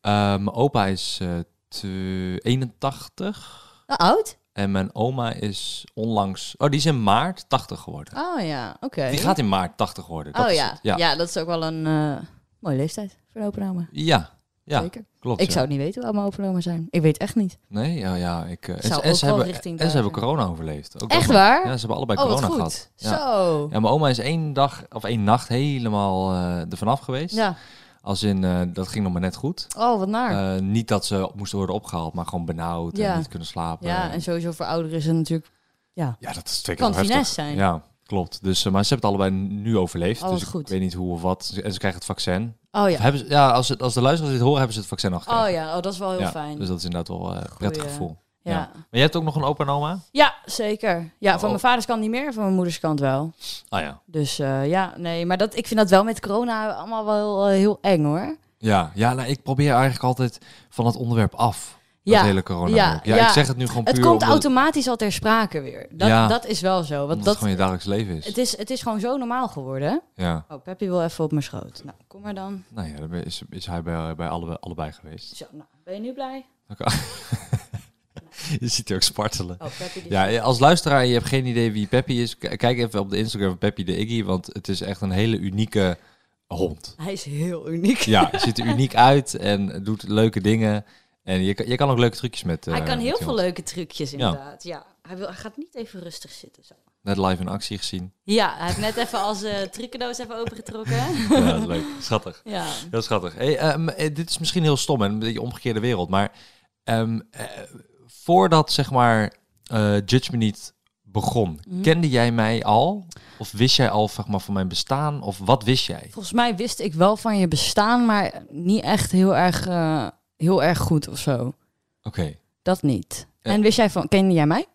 [SPEAKER 1] Eh, mijn opa is eh, te- 81
[SPEAKER 2] Oh, oud?
[SPEAKER 1] en mijn oma is onlangs... Oh, die is in maart 80 geworden.
[SPEAKER 2] Oh ja, oké.
[SPEAKER 1] Die gaat in maart 80 worden. Dat
[SPEAKER 2] Oh
[SPEAKER 1] is
[SPEAKER 2] ja.
[SPEAKER 1] het.
[SPEAKER 2] ja.
[SPEAKER 1] Ja. ja.
[SPEAKER 2] dat is ook wel een eh, mooie leeftijd voor de opa en oma.
[SPEAKER 1] Ja,
[SPEAKER 2] Zeker.
[SPEAKER 1] klopt.
[SPEAKER 2] Ik
[SPEAKER 1] ja.
[SPEAKER 2] zou het niet weten hoe oud mijn opa en oma zijn. Ik weet echt niet.
[SPEAKER 1] Nee, ja, ja ik... eh, en,
[SPEAKER 2] zou
[SPEAKER 1] ze- en
[SPEAKER 2] ook
[SPEAKER 1] ze
[SPEAKER 2] wel
[SPEAKER 1] hebben,
[SPEAKER 2] richting
[SPEAKER 1] en ze
[SPEAKER 2] daar
[SPEAKER 1] hebben
[SPEAKER 2] zijn.
[SPEAKER 1] corona overleefd. Ook
[SPEAKER 2] Echt
[SPEAKER 1] dat nog.
[SPEAKER 2] waar?
[SPEAKER 1] Ja, ze hebben allebei
[SPEAKER 2] oh, wat
[SPEAKER 1] corona
[SPEAKER 2] goed.
[SPEAKER 1] gehad. Ja.
[SPEAKER 2] Zo.
[SPEAKER 1] Ja, mijn oma is één dag of één nacht helemaal eh ervan af geweest.
[SPEAKER 2] Ja.
[SPEAKER 1] Als in, eh, dat ging nog maar net goed.
[SPEAKER 2] Oh, wat naar.
[SPEAKER 1] Eh, niet dat ze moesten worden opgehaald, maar gewoon benauwd
[SPEAKER 2] Ja.
[SPEAKER 1] en niet kunnen slapen.
[SPEAKER 2] ja, en sowieso voor ouderen is het natuurlijk... Ja,
[SPEAKER 1] eh, Ja, dat is twee keer
[SPEAKER 2] kan
[SPEAKER 1] zo heftig.
[SPEAKER 2] finesse zijn.
[SPEAKER 1] Ja, klopt. Dus, eh, maar ze hebben het allebei nu overleefd.
[SPEAKER 2] Alles
[SPEAKER 1] dus ik
[SPEAKER 2] goed.
[SPEAKER 1] weet niet hoe of wat. En ze krijgen het vaccin.
[SPEAKER 2] Oh
[SPEAKER 1] Ja,
[SPEAKER 2] ja.
[SPEAKER 1] hebben ze, ja als, het, als de luisteraars dit horen, hebben ze het vaccin al gekregen.
[SPEAKER 2] Oh ja, oh, dat is wel heel fijn.
[SPEAKER 1] Dus dat is inderdaad wel eh, een prettig
[SPEAKER 2] Goeie.
[SPEAKER 1] gevoel.
[SPEAKER 2] ja.
[SPEAKER 1] ja.
[SPEAKER 2] Ja.
[SPEAKER 1] Maar jij hebt ook nog een opa en oma?
[SPEAKER 2] zeker. Ja,
[SPEAKER 1] Oh.
[SPEAKER 2] van mijn vaders kant niet meer, van mijn moeders kant wel.
[SPEAKER 1] Ah ja.
[SPEAKER 2] Dus eh, ja, nee, maar dat, ik vind dat wel met corona allemaal wel eh, heel eng hoor.
[SPEAKER 1] Ja, ja nou, ik probeer eigenlijk altijd van het onderwerp af. Ja.
[SPEAKER 2] Ja,
[SPEAKER 1] Dat hele corona.
[SPEAKER 2] ja,
[SPEAKER 1] Ja, ja,
[SPEAKER 2] ja.
[SPEAKER 1] ik zeg het nu gewoon
[SPEAKER 2] Het
[SPEAKER 1] puur
[SPEAKER 2] komt
[SPEAKER 1] omdat-
[SPEAKER 2] automatisch al ter sprake weer. Dat,
[SPEAKER 1] Ja.
[SPEAKER 2] dat is wel zo. Want
[SPEAKER 1] omdat
[SPEAKER 2] dat,
[SPEAKER 1] het gewoon je dagelijks leven is.
[SPEAKER 2] het, is, het is gewoon zo normaal geworden.
[SPEAKER 1] Ja.
[SPEAKER 2] Oh, Peppy wil even op mijn schoot. Nou, kom maar dan.
[SPEAKER 1] Nou ja, dan is, is hij bij, bij alle, allebei geweest.
[SPEAKER 2] Zo, nou, ben je nu blij?
[SPEAKER 1] Oké. je ziet er ook spartelen.
[SPEAKER 2] Oh, Peppy die-
[SPEAKER 1] Ja, als luisteraar, je hebt geen idee wie Peppy is. k- Kijk even op de Instagram van Peppy de Iggy, want het is echt een hele unieke hond.
[SPEAKER 2] Hij is heel uniek.
[SPEAKER 1] Ja, hij ziet er uniek uit en doet leuke dingen. En je, kan- je kan ook leuke trucjes met eh,
[SPEAKER 2] hij kan
[SPEAKER 1] met
[SPEAKER 2] heel
[SPEAKER 1] die
[SPEAKER 2] veel
[SPEAKER 1] hond.
[SPEAKER 2] leuke trucjes inderdaad. Ja. Hij, wil, hij gaat niet even rustig zitten. Zo.
[SPEAKER 1] Net live in actie gezien.
[SPEAKER 2] Ja, hij heeft net even als eh trucendoos even opengetrokken.
[SPEAKER 1] Ja, leuk. Schattig.
[SPEAKER 2] ja.
[SPEAKER 1] Heel schattig. Hey, ehm, eh, dit is misschien heel stom en een beetje omgekeerde wereld, maar ehm, eh, voordat zeg maar eh Judge Me Niet begon,
[SPEAKER 2] Mhm.
[SPEAKER 1] kende jij mij al? Of wist jij al zeg maar, van mijn bestaan? Of wat wist jij?
[SPEAKER 2] Volgens mij wist ik wel van je bestaan, maar niet echt heel erg, eh, heel erg goed of zo.
[SPEAKER 1] Oké.
[SPEAKER 2] Dat niet.
[SPEAKER 1] Ja.
[SPEAKER 2] En wist jij van, kende jij mij?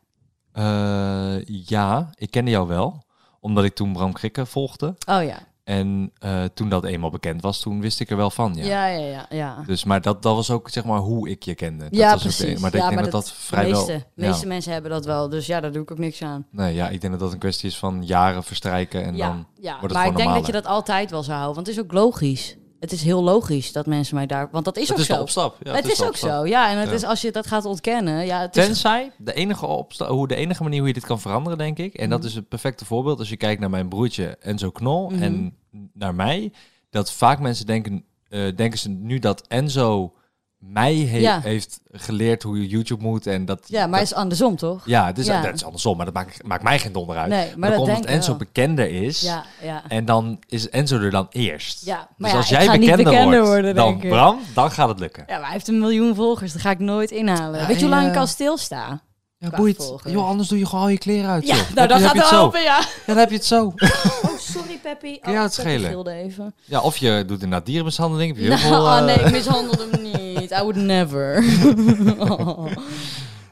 [SPEAKER 1] Eh, ja, ik kende jou wel, omdat ik toen Bram Krikke volgde.
[SPEAKER 2] Oh ja.
[SPEAKER 1] En eh, toen dat eenmaal bekend was, toen wist ik er wel van, ja.
[SPEAKER 2] Ja, ja, ja. ja, ja.
[SPEAKER 1] Dus, maar dat, dat was ook zeg maar hoe ik je kende. Dat
[SPEAKER 2] Ja,
[SPEAKER 1] was ook de-
[SPEAKER 2] precies.
[SPEAKER 1] maar ik
[SPEAKER 2] ja,
[SPEAKER 1] denk dat dat, vrijwel...
[SPEAKER 2] meeste,
[SPEAKER 1] ja.
[SPEAKER 2] meeste mensen hebben dat wel, dus ja, daar doe ik ook niks aan.
[SPEAKER 1] Nee, ja, ik denk dat dat een kwestie is van jaren verstrijken en
[SPEAKER 2] ja,
[SPEAKER 1] dan
[SPEAKER 2] ja.
[SPEAKER 1] wordt het
[SPEAKER 2] maar
[SPEAKER 1] gewoon
[SPEAKER 2] ik denk dat
[SPEAKER 1] normaler.
[SPEAKER 2] je dat altijd wel zou houden, want het is ook logisch. Het is heel logisch dat mensen mij daar... Want dat is
[SPEAKER 1] Dat
[SPEAKER 2] ook
[SPEAKER 1] is de
[SPEAKER 2] zo.
[SPEAKER 1] opstap. Ja,
[SPEAKER 2] het is,
[SPEAKER 1] de
[SPEAKER 2] ook
[SPEAKER 1] opstap.
[SPEAKER 2] zo, ja. En het
[SPEAKER 1] Ja.
[SPEAKER 2] is als je dat gaat ontkennen, ja, het is...
[SPEAKER 1] Tenzij, de enige, opsta- hoe, de enige manier hoe je dit kan veranderen, denk ik, en dat
[SPEAKER 2] Mhm.
[SPEAKER 1] is het perfecte voorbeeld als je kijkt naar mijn broertje Enzo Knol en naar mij, dat vaak mensen denken, eh, denken ze nu dat Enzo mij he-
[SPEAKER 2] Ja.
[SPEAKER 1] heeft geleerd hoe je YouTube moet en dat...
[SPEAKER 2] Ja, maar
[SPEAKER 1] dat-
[SPEAKER 2] het is andersom, toch?
[SPEAKER 1] ja, het is,
[SPEAKER 2] ja.
[SPEAKER 1] dat is andersom, maar dat maakt, maakt mij geen donder uit.
[SPEAKER 2] Nee, maar dat
[SPEAKER 1] komt
[SPEAKER 2] denk
[SPEAKER 1] omdat
[SPEAKER 2] ik
[SPEAKER 1] Enzo
[SPEAKER 2] wel.
[SPEAKER 1] bekender is.
[SPEAKER 2] Ja, ja.
[SPEAKER 1] En dan is Enzo er dan eerst.
[SPEAKER 2] Ja, maar
[SPEAKER 1] dus
[SPEAKER 2] ja,
[SPEAKER 1] als
[SPEAKER 2] ik
[SPEAKER 1] jij
[SPEAKER 2] ga niet
[SPEAKER 1] bekender,
[SPEAKER 2] bekender
[SPEAKER 1] wordt
[SPEAKER 2] worden,
[SPEAKER 1] dan
[SPEAKER 2] denk ik.
[SPEAKER 1] Bram, dan gaat het lukken.
[SPEAKER 2] Ja, maar hij heeft een miljoen volgers. Dat ga ik nooit inhalen.
[SPEAKER 1] Ja,
[SPEAKER 2] Weet je hoe
[SPEAKER 1] en,
[SPEAKER 2] lang ik
[SPEAKER 1] eh,
[SPEAKER 2] al stilsta?
[SPEAKER 1] Ja,
[SPEAKER 2] Qua
[SPEAKER 1] boeit.
[SPEAKER 2] volgers.
[SPEAKER 1] Joh, anders doe je gewoon al je kleren uit.
[SPEAKER 2] Ja,
[SPEAKER 1] joh. Dan
[SPEAKER 2] nou dat
[SPEAKER 1] heb
[SPEAKER 2] gaat
[SPEAKER 1] je het
[SPEAKER 2] wel
[SPEAKER 1] zo.
[SPEAKER 2] helpen, ja.
[SPEAKER 1] Ja, dan heb je het zo.
[SPEAKER 2] Oh, sorry Peppy.
[SPEAKER 1] Kun je Oh, het Peppy schelen?
[SPEAKER 2] even.
[SPEAKER 1] Ja, of je doet inderdaad dierenmishandeling. Heb je heel
[SPEAKER 2] Nou,
[SPEAKER 1] veel,
[SPEAKER 2] oh,
[SPEAKER 1] eh,
[SPEAKER 2] nee, ik mishandelde hem niet. I would never. Oh.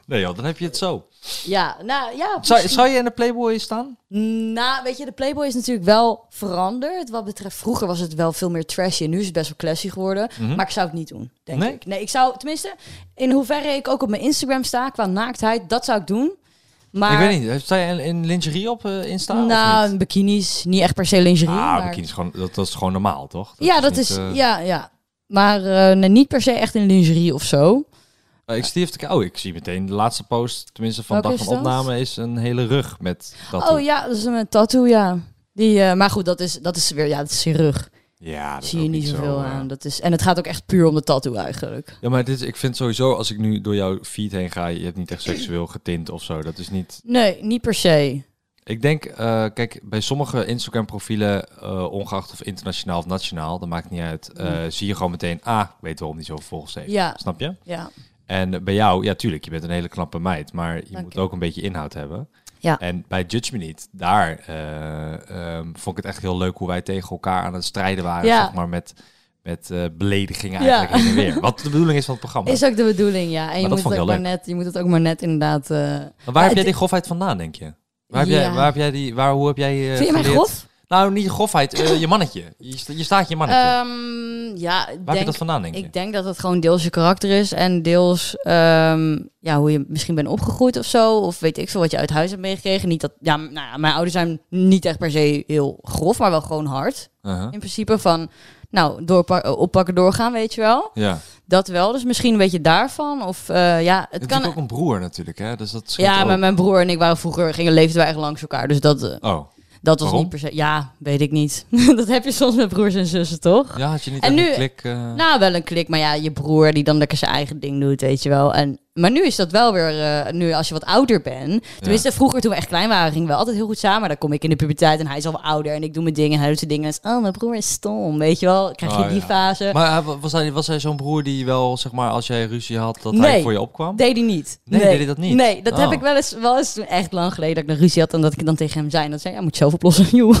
[SPEAKER 1] nee joh, dan heb je het zo.
[SPEAKER 2] Ja, nou ja.
[SPEAKER 1] Zou, zou je in de Playboy staan?
[SPEAKER 2] Nou, weet je, de Playboy is natuurlijk wel veranderd. Wat betreft, vroeger was het wel veel meer trashy en nu is het best wel classy geworden. Maar ik zou het niet doen, denk
[SPEAKER 1] Mhm. Nee?
[SPEAKER 2] ik. Nee, ik zou, tenminste, in hoeverre ik ook op mijn Instagram sta qua naaktheid, dat zou ik doen. Maar,
[SPEAKER 1] Ik weet niet. eh, Sta je in, in lingerie op eh Insta? of
[SPEAKER 2] Nou,
[SPEAKER 1] niet?
[SPEAKER 2] bikinis, niet echt per se lingerie.
[SPEAKER 1] ah,
[SPEAKER 2] maar-
[SPEAKER 1] bikini is gewoon, dat, dat is gewoon normaal, toch? Dat
[SPEAKER 2] ja, dat
[SPEAKER 1] niet,
[SPEAKER 2] is,
[SPEAKER 1] eh,
[SPEAKER 2] ja, ja. Maar eh, nee, niet per se echt in lingerie of zo.
[SPEAKER 1] eh, Ik, zie even te- oh, ik zie meteen de laatste post, tenminste van
[SPEAKER 2] Welke
[SPEAKER 1] dag
[SPEAKER 2] is
[SPEAKER 1] van
[SPEAKER 2] dat?
[SPEAKER 1] opname, is een hele rug met dat.
[SPEAKER 2] Oh ja, dat is een tattoo, ja. Die, eh, maar goed, dat is, dat is weer, ja, dat is zijn rug.
[SPEAKER 1] Ja, dat is
[SPEAKER 2] zie je
[SPEAKER 1] ook
[SPEAKER 2] niet
[SPEAKER 1] zo,
[SPEAKER 2] zoveel
[SPEAKER 1] eh.
[SPEAKER 2] aan. Dat is, en het gaat ook echt puur om de tattoo eigenlijk.
[SPEAKER 1] Ja, maar dit, is- ik vind sowieso, als ik nu door jouw feed heen ga, je hebt niet echt seksueel getint of zo. Dat is niet...
[SPEAKER 2] Nee, niet per se.
[SPEAKER 1] Ik denk, eh, kijk, bij sommige Instagram-profielen, eh, ongeacht of internationaal of nationaal, dat maakt niet uit, eh, zie je gewoon meteen, ah, ik weet waarom die zoveel volgers heeft.
[SPEAKER 2] Mm. Ja.
[SPEAKER 1] Snap je?
[SPEAKER 2] Ja.
[SPEAKER 1] En bij jou, ja, tuurlijk, je bent een hele knappe meid, maar je
[SPEAKER 2] Dank
[SPEAKER 1] moet
[SPEAKER 2] je.
[SPEAKER 1] ook een beetje inhoud hebben.
[SPEAKER 2] Ja.
[SPEAKER 1] En bij Judge Me Niet, daar eh, ehm, vond ik het echt heel leuk hoe wij tegen elkaar aan het strijden waren,
[SPEAKER 2] Ja.
[SPEAKER 1] zeg maar, met, met eh, beledigingen
[SPEAKER 2] Ja.
[SPEAKER 1] eigenlijk heen en weer. Wat de bedoeling is van het programma.
[SPEAKER 2] Is ook de bedoeling, ja. En je
[SPEAKER 1] dat
[SPEAKER 2] moet,
[SPEAKER 1] vond
[SPEAKER 2] het
[SPEAKER 1] ik
[SPEAKER 2] ook
[SPEAKER 1] heel
[SPEAKER 2] maar net, je moet het ook maar net inderdaad... eh,
[SPEAKER 1] Maar waar
[SPEAKER 2] Ja,
[SPEAKER 1] heb jij
[SPEAKER 2] het-
[SPEAKER 1] die grofheid vandaan, denk je? Waar heb jij,
[SPEAKER 2] Ja.
[SPEAKER 1] waar heb jij die, waar, hoe heb jij eh,
[SPEAKER 2] Vind je mij
[SPEAKER 1] geleerd-
[SPEAKER 2] grof?
[SPEAKER 1] Nou, niet grofheid, eh, je mannetje. Je, sta- je staat je mannetje. Ah, waar
[SPEAKER 2] Ehm, ja, ik
[SPEAKER 1] heb je
[SPEAKER 2] denk,
[SPEAKER 1] dat vandaan, denk je?
[SPEAKER 2] ik denk dat het gewoon deels je karakter is. En deels ehm, ja, hoe je misschien bent opgegroeid of zo. Of weet ik veel wat je uit huis hebt meegekregen. Niet dat, ja, m- nou ja, mijn ouders zijn niet echt per se heel grof, maar wel gewoon hard.
[SPEAKER 1] Uh-huh.
[SPEAKER 2] In principe van, nou, doorpa- eh, oppakken, doorgaan, weet je wel.
[SPEAKER 1] Ja. Het
[SPEAKER 2] Dat wel, dus misschien een beetje daarvan. Of eh, ja, het
[SPEAKER 1] is
[SPEAKER 2] kan...
[SPEAKER 1] natuurlijk ook een broer natuurlijk, hè? Dus dat scheelt
[SPEAKER 2] Ja,
[SPEAKER 1] ook.
[SPEAKER 2] maar mijn broer en ik waren vroeger, gingen leefden wij echt langs elkaar. Dus dat, eh,
[SPEAKER 1] Oh,
[SPEAKER 2] dat was
[SPEAKER 1] Waarom?
[SPEAKER 2] niet per se... Ja, weet ik niet. dat heb je soms met broers en zussen, toch?
[SPEAKER 1] ja, had je niet
[SPEAKER 2] En
[SPEAKER 1] echt
[SPEAKER 2] nu-
[SPEAKER 1] een klik... eh,
[SPEAKER 2] Nou, wel een klik, maar ja, je broer die dan lekker zijn eigen ding doet, weet je wel. En, maar nu is dat wel weer, eh, nu als je wat ouder bent. Tenminste, vroeger toen we echt klein waren, gingen we altijd heel goed samen. Maar dan kom ik in de puberteit en hij is al wat ouder en ik doe mijn dingen en hij doet zijn dingen. En is, oh, mijn broer is stom, weet je wel. Krijg je
[SPEAKER 1] Oh,
[SPEAKER 2] die
[SPEAKER 1] ja.
[SPEAKER 2] fase?
[SPEAKER 1] Maar hij- was hij, was hij zo'n broer die wel, zeg maar, als jij ruzie had, dat hij
[SPEAKER 2] Nee.
[SPEAKER 1] voor je opkwam?
[SPEAKER 2] Deed hij niet.
[SPEAKER 1] Nee, deed hij dat niet?
[SPEAKER 2] Nee, dat
[SPEAKER 1] Oh.
[SPEAKER 2] heb ik wel eens, wel eens toen echt lang geleden dat ik een ruzie had en dat ik dan tegen hem zei. En dat zei, ja, moet je zelf oplossen, joh.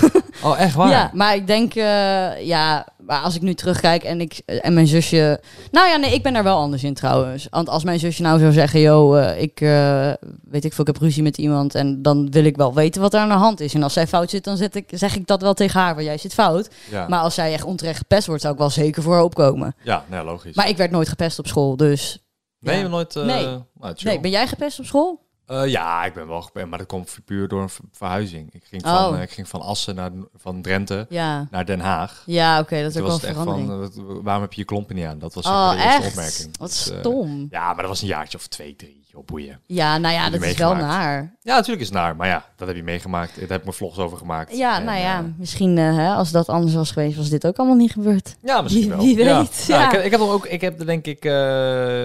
[SPEAKER 1] Oh, echt waar?
[SPEAKER 2] Ja, maar ik denk, eh, ja, maar als ik nu terugkijk en ik en mijn zusje. Nou ja, nee, ik ben daar wel anders in trouwens. Want als mijn zusje nou zou zeggen, yo, eh, ik eh, weet ik veel, ik heb ruzie met iemand. En dan wil ik wel weten wat er aan de hand is. En als zij fout zit, dan zet ik, zeg ik dat wel tegen haar, want jij zit fout.
[SPEAKER 1] Ja,
[SPEAKER 2] Maar als zij echt onterecht gepest wordt, zou ik wel zeker voor haar opkomen.
[SPEAKER 1] ja nee, logisch.
[SPEAKER 2] Maar ik werd nooit gepest op school, dus.
[SPEAKER 1] nee,
[SPEAKER 2] ja.
[SPEAKER 1] nooit... eh,
[SPEAKER 2] Nee.
[SPEAKER 1] nou, chill.
[SPEAKER 2] Nee, ben jij gepest op school?
[SPEAKER 1] Eh, ja, ik ben wel gepest, maar dat komt puur door een ver- verhuizing. Ik ging,
[SPEAKER 2] Oh.
[SPEAKER 1] van, eh, ik ging van Assen naar, van Drenthe
[SPEAKER 2] Ja.
[SPEAKER 1] naar Den Haag.
[SPEAKER 2] Ja, oké, dat is
[SPEAKER 1] Toen
[SPEAKER 2] ook wel
[SPEAKER 1] was
[SPEAKER 2] een
[SPEAKER 1] het echt van,
[SPEAKER 2] verandering.
[SPEAKER 1] eh, wat- waarom heb je je klompen niet aan? Dat was
[SPEAKER 2] oh,
[SPEAKER 1] de eerste
[SPEAKER 2] echt?
[SPEAKER 1] opmerking.
[SPEAKER 2] Wat
[SPEAKER 1] Dus, eh,
[SPEAKER 2] stom. ja.
[SPEAKER 1] ja, maar dat was een jaartje of twee, drie. Joh, boeien.
[SPEAKER 2] nou ja,
[SPEAKER 1] Heb je
[SPEAKER 2] dat is wel
[SPEAKER 1] meegemaakt?
[SPEAKER 2] naar.
[SPEAKER 1] Ja, natuurlijk is het naar. Maar ja, dat heb je meegemaakt. Daar heb ik mijn vlogs over gemaakt.
[SPEAKER 2] Ja,
[SPEAKER 1] En,
[SPEAKER 2] nou ja,
[SPEAKER 1] eh,
[SPEAKER 2] misschien eh, hè, als dat anders was geweest, was dit ook allemaal niet gebeurd.
[SPEAKER 1] ja, misschien
[SPEAKER 2] Wie-
[SPEAKER 1] wel.
[SPEAKER 2] wie
[SPEAKER 1] Ja.
[SPEAKER 2] weet,
[SPEAKER 1] Nou,
[SPEAKER 2] ja.
[SPEAKER 1] ik, heb- ik heb er ook, ik heb er denk ik, eh,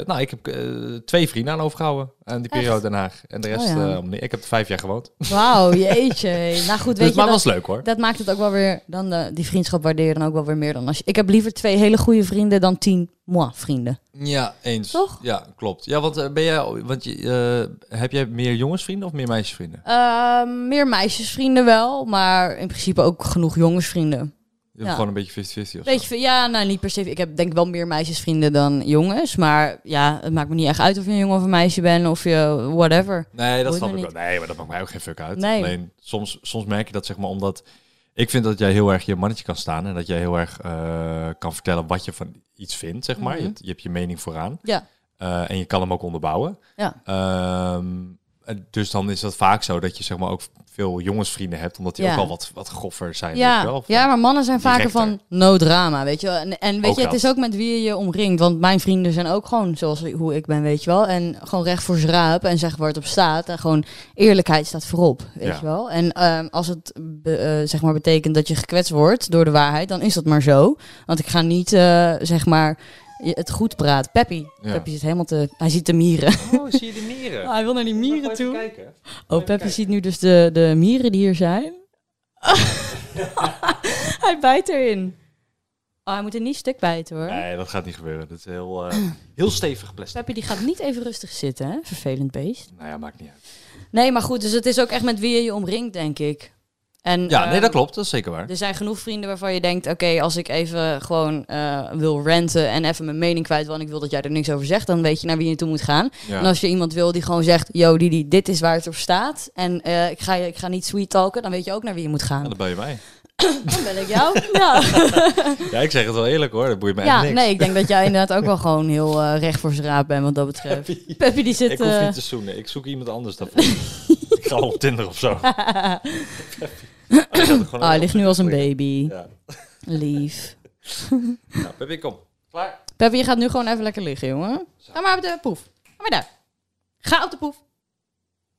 [SPEAKER 1] nou, ik heb eh, twee vrienden aan overgehouden. Aan die
[SPEAKER 2] Echt?
[SPEAKER 1] periode Den Haag. En de rest,
[SPEAKER 2] Oh, ja.
[SPEAKER 1] eh, om niet- ik heb er vijf jaar gewoond. Dus,
[SPEAKER 2] Wauw, jeetje. nou goed, weet
[SPEAKER 1] maar
[SPEAKER 2] je, dat,
[SPEAKER 1] dat was leuk hoor.
[SPEAKER 2] dat maakt het ook wel weer, dan eh, die vriendschap waardeer je dan ook wel weer meer dan als je... Ik heb liever twee hele goede vrienden dan tien moi vrienden.
[SPEAKER 1] Ja, eens.
[SPEAKER 2] Toch?
[SPEAKER 1] Ja, klopt. Ja, want eh, ben jij, want je, eh, heb jij meer jongensvrienden of meer meisjesvrienden?
[SPEAKER 2] Ehm, meer meisjesvrienden wel, maar in principe ook genoeg jongensvrienden.
[SPEAKER 1] Je hebt
[SPEAKER 2] Ja.
[SPEAKER 1] Gewoon een beetje 50-50 of zo?
[SPEAKER 2] Weet je, ja, nou niet per se. Ik heb denk ik wel meer meisjesvrienden dan jongens, maar ja, het maakt me niet echt uit of je een jongen of een meisje bent of je whatever.
[SPEAKER 1] Nee, dat
[SPEAKER 2] Boeit
[SPEAKER 1] snap ik
[SPEAKER 2] me
[SPEAKER 1] wel. Nee, maar dat maakt mij ook geen fuck uit.
[SPEAKER 2] nou Nee.
[SPEAKER 1] Alleen soms, soms merk je dat, zeg maar, omdat ik vind dat jij heel erg je mannetje kan staan en dat jij heel erg eh, kan vertellen wat je van iets vindt, zeg maar.
[SPEAKER 2] Mhm.
[SPEAKER 1] je, hebt- je hebt je mening vooraan
[SPEAKER 2] Ja,
[SPEAKER 1] Eh, en je kan hem ook onderbouwen.
[SPEAKER 2] ja,
[SPEAKER 1] Ehm, en dus dan is dat vaak zo dat je, zeg maar, ook veel jongensvrienden hebt, omdat die
[SPEAKER 2] Ja.
[SPEAKER 1] ook al wat, wat groffer zijn. weet je wel.
[SPEAKER 2] Ja,
[SPEAKER 1] Of-
[SPEAKER 2] ja, maar mannen zijn vaker
[SPEAKER 1] directer.
[SPEAKER 2] van no drama, weet je wel. En, en weet
[SPEAKER 1] Ook
[SPEAKER 2] je, het
[SPEAKER 1] dat.
[SPEAKER 2] is ook met wie je je omringt. Want mijn vrienden zijn ook gewoon zoals hoe ik ben, weet je wel. En gewoon recht voor z'n raap en zeggen waar het op staat. En gewoon eerlijkheid staat voorop, weet
[SPEAKER 1] Ja.
[SPEAKER 2] je wel. En ehm, als het be- eh, zeg maar betekent dat je gekwetst wordt door de waarheid, dan is dat maar zo. Want ik ga niet eh, zeg maar je- het goed praten. Peppy,
[SPEAKER 1] Ja.
[SPEAKER 2] Peppy zit helemaal te... Hij ziet de mieren.
[SPEAKER 1] Oh, zie je de mieren?
[SPEAKER 2] Ah, hij wil naar die
[SPEAKER 1] Mag
[SPEAKER 2] mieren
[SPEAKER 1] ik even
[SPEAKER 2] toe.
[SPEAKER 1] kijken?
[SPEAKER 2] Oh, Peppy ziet nu dus de, de mieren die hier zijn. hij bijt erin. Oh, hij moet er niet stuk bijten hoor.
[SPEAKER 1] Nee, dat gaat niet gebeuren. Dat is heel, eh, heel stevig plastic.
[SPEAKER 2] Peppy die gaat niet even rustig zitten, hè? Vervelend beest.
[SPEAKER 1] Nou ja, maakt niet uit.
[SPEAKER 2] Nee, maar goed, dus het is ook echt met wie je je omringt, denk ik. En,
[SPEAKER 1] Ja, nee,
[SPEAKER 2] ehm,
[SPEAKER 1] dat klopt. Dat is zeker waar.
[SPEAKER 2] Er zijn genoeg vrienden waarvan je denkt, oké, als ik even gewoon eh, wil renten en even mijn mening kwijt wil en ik wil dat jij er niks over zegt, dan weet je naar wie je toe moet gaan.
[SPEAKER 1] Ja.
[SPEAKER 2] En als je iemand wil die gewoon zegt, yo Didi, dit is waar het op staat en eh, ik, ga je, ik ga niet sweet talken, dan weet je ook naar wie je moet gaan.
[SPEAKER 1] Ja, dan bel je mij.
[SPEAKER 2] Dan ben ik jou. Ja,
[SPEAKER 1] Ja, ik zeg het wel eerlijk hoor, dat boeit me
[SPEAKER 2] ja
[SPEAKER 1] echt niks.
[SPEAKER 2] nee, ik denk dat jij inderdaad ook wel gewoon heel eh, recht voor zijn raap bent wat dat betreft. Peppy, die zit...
[SPEAKER 1] ik hoef
[SPEAKER 2] eh,
[SPEAKER 1] niet te zoenen, ik zoek iemand anders daarvoor. ik ga wel op Tinder of zo.
[SPEAKER 2] Ah, hij ligt nu als een baby.
[SPEAKER 1] Ja.
[SPEAKER 2] Lief.
[SPEAKER 1] Nou, Peppy, kom. Klaar?
[SPEAKER 2] Peppy, je gaat nu gewoon even lekker liggen, jongen. Ga maar op de poef. Ga maar daar. Ga op de poef.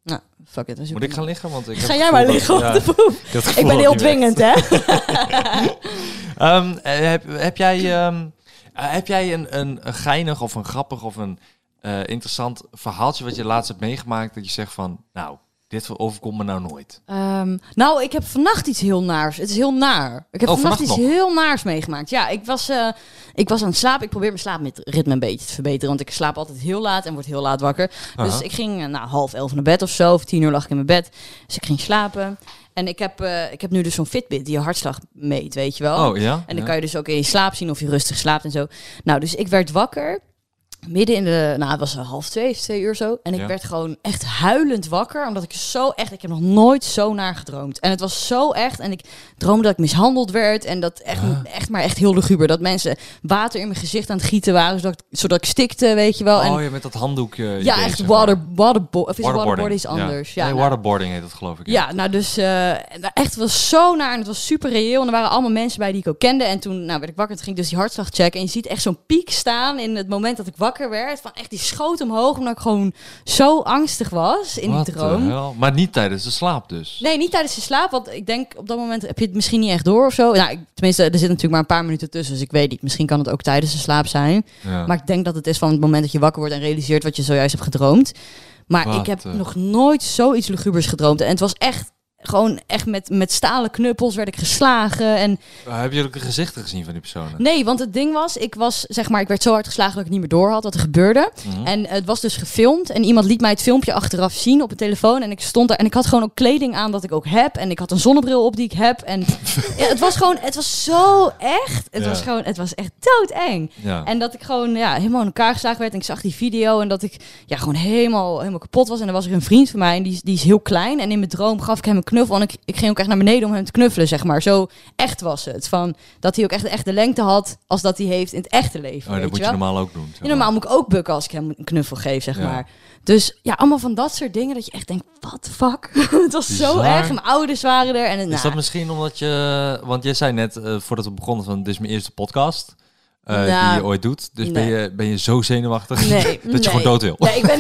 [SPEAKER 2] Nou, fuck it. we
[SPEAKER 1] Moet
[SPEAKER 2] zoeken
[SPEAKER 1] ik gaan liggen? Want ik heb
[SPEAKER 2] Ga
[SPEAKER 1] het
[SPEAKER 2] jij maar
[SPEAKER 1] gevoel
[SPEAKER 2] liggen op
[SPEAKER 1] dat-
[SPEAKER 2] de
[SPEAKER 1] ja,
[SPEAKER 2] poef.
[SPEAKER 1] heb het gevoel
[SPEAKER 2] Ik ben
[SPEAKER 1] dat
[SPEAKER 2] heel
[SPEAKER 1] het niet werkt.
[SPEAKER 2] dwingend, hè?
[SPEAKER 1] Ehm, eh, heb, heb jij, ehm, eh, heb jij een, een, een geinig of een grappig of een eh, interessant verhaaltje wat je laatst hebt meegemaakt dat je zegt van, nou, dit overkomt me nou nooit.
[SPEAKER 2] Ehm, nou, ik heb vannacht iets heel naars. Het is heel naar. Ik heb
[SPEAKER 1] Oh,
[SPEAKER 2] vannacht,
[SPEAKER 1] vannacht
[SPEAKER 2] iets heel naars meegemaakt. Ja, ik was, eh, ik was aan het slapen. Ik probeer mijn slaapritme een beetje te verbeteren. Want ik slaap altijd heel laat en word heel laat wakker. Dus
[SPEAKER 1] Aha.
[SPEAKER 2] ik ging eh, nou, half elf naar bed of zo. Of tien uur lag ik in mijn bed. Dus ik ging slapen. En ik heb, eh, ik heb nu dus zo'n Fitbit die je hartslag meet, weet je wel.
[SPEAKER 1] Oh, ja?
[SPEAKER 2] En dan
[SPEAKER 1] Ja.
[SPEAKER 2] kan je dus ook in je slaap zien of je rustig slaapt en zo. Nou, dus ik werd wakker. Midden in de, nou het was half twee, twee uur zo. En ik
[SPEAKER 1] Ja.
[SPEAKER 2] werd gewoon echt huilend wakker. Omdat ik zo echt, ik heb nog nooit zo naar gedroomd. En het was zo echt. En ik droomde dat ik mishandeld werd. En dat echt, echt maar echt heel luguber. Dat mensen water in mijn gezicht aan het gieten waren. Zodat, ik- zodat ik stikte, weet je wel. en,
[SPEAKER 1] Oh, ja, met dat handdoekje.
[SPEAKER 2] ja,
[SPEAKER 1] idee,
[SPEAKER 2] echt
[SPEAKER 1] zeg maar.
[SPEAKER 2] water, waterbo of is
[SPEAKER 1] Waterboarding.
[SPEAKER 2] waterboarding is
[SPEAKER 1] Ja.
[SPEAKER 2] anders. Ja,
[SPEAKER 1] nee,
[SPEAKER 2] nou,
[SPEAKER 1] waterboarding heet dat geloof ik.
[SPEAKER 2] ja, nou dus eh, nou, echt, het was zo naar en het was super reëel. En er waren allemaal mensen bij die ik ook kende. En toen nou, werd ik wakker, toen ging ik dus die hartslag checken. En je ziet echt zo'n piek staan in het moment dat ik wakker werd. Van echt die schoot omhoog, omdat ik gewoon zo angstig was in
[SPEAKER 1] What
[SPEAKER 2] die
[SPEAKER 1] the
[SPEAKER 2] droom.
[SPEAKER 1] hell? Maar niet tijdens de slaap dus.
[SPEAKER 2] Nee, niet tijdens de slaap, want ik denk op dat moment heb je het misschien niet echt door of zo. Nou, ik, tenminste, er zit natuurlijk maar een paar minuten tussen, dus ik weet niet. Misschien kan het ook tijdens de slaap zijn.
[SPEAKER 1] Ja.
[SPEAKER 2] Maar ik denk dat het is van het moment dat je wakker wordt en realiseert wat je zojuist hebt gedroomd. Maar
[SPEAKER 1] Wat,
[SPEAKER 2] ik heb
[SPEAKER 1] eh.
[SPEAKER 2] nog nooit zoiets lugubers gedroomd. En het was echt, gewoon echt met, met stalen knuppels werd ik geslagen. En
[SPEAKER 1] Uh, heb je ook de gezichten gezien van die personen?
[SPEAKER 2] nee, want het ding was, ik was, zeg maar, ik werd zo hard geslagen dat ik niet meer door had wat er gebeurde.
[SPEAKER 1] Mhm.
[SPEAKER 2] En het was dus gefilmd. En iemand liet mij het filmpje achteraf zien op een telefoon. En ik stond daar. En ik had gewoon ook kleding aan dat ik ook heb. En ik had een zonnebril op die ik heb. En ja, het was gewoon, het was zo echt. Het
[SPEAKER 1] Ja.
[SPEAKER 2] was gewoon, het was echt doodeng.
[SPEAKER 1] Ja.
[SPEAKER 2] En dat ik gewoon ja, helemaal in elkaar geslagen werd. En ik zag die video en dat ik ja, gewoon helemaal, helemaal kapot was. En er was er een vriend van mij en die, is- die is heel klein. En in mijn droom gaf ik hem een knuffel. En ik, ik ging ook echt naar beneden om hem te knuffelen, zeg maar. Zo echt was het. Van, dat hij ook echt, echt de lengte had als dat hij heeft in het echte leven.
[SPEAKER 1] oh,
[SPEAKER 2] weet
[SPEAKER 1] dat moet je
[SPEAKER 2] wel?
[SPEAKER 1] normaal ook doen. zeg
[SPEAKER 2] Ja, normaal moet ik ook bukken als ik hem een knuffel geef, zeg
[SPEAKER 1] Ja.
[SPEAKER 2] maar. Dus ja, allemaal van dat soort dingen dat je echt denkt, what the fuck? het was zo
[SPEAKER 1] Bizar.
[SPEAKER 2] erg. Mijn ouders waren er en het,
[SPEAKER 1] Is
[SPEAKER 2] nou,
[SPEAKER 1] dat misschien omdat je... Want jij zei net, eh, voordat we begonnen, van dit is mijn eerste podcast eh,
[SPEAKER 2] Nou,
[SPEAKER 1] die je ooit doet. Dus ben,
[SPEAKER 2] nee.
[SPEAKER 1] je, ben je zo zenuwachtig
[SPEAKER 2] Nee,
[SPEAKER 1] dat je
[SPEAKER 2] nee.
[SPEAKER 1] gewoon dood wil?
[SPEAKER 2] Nee, ik ben,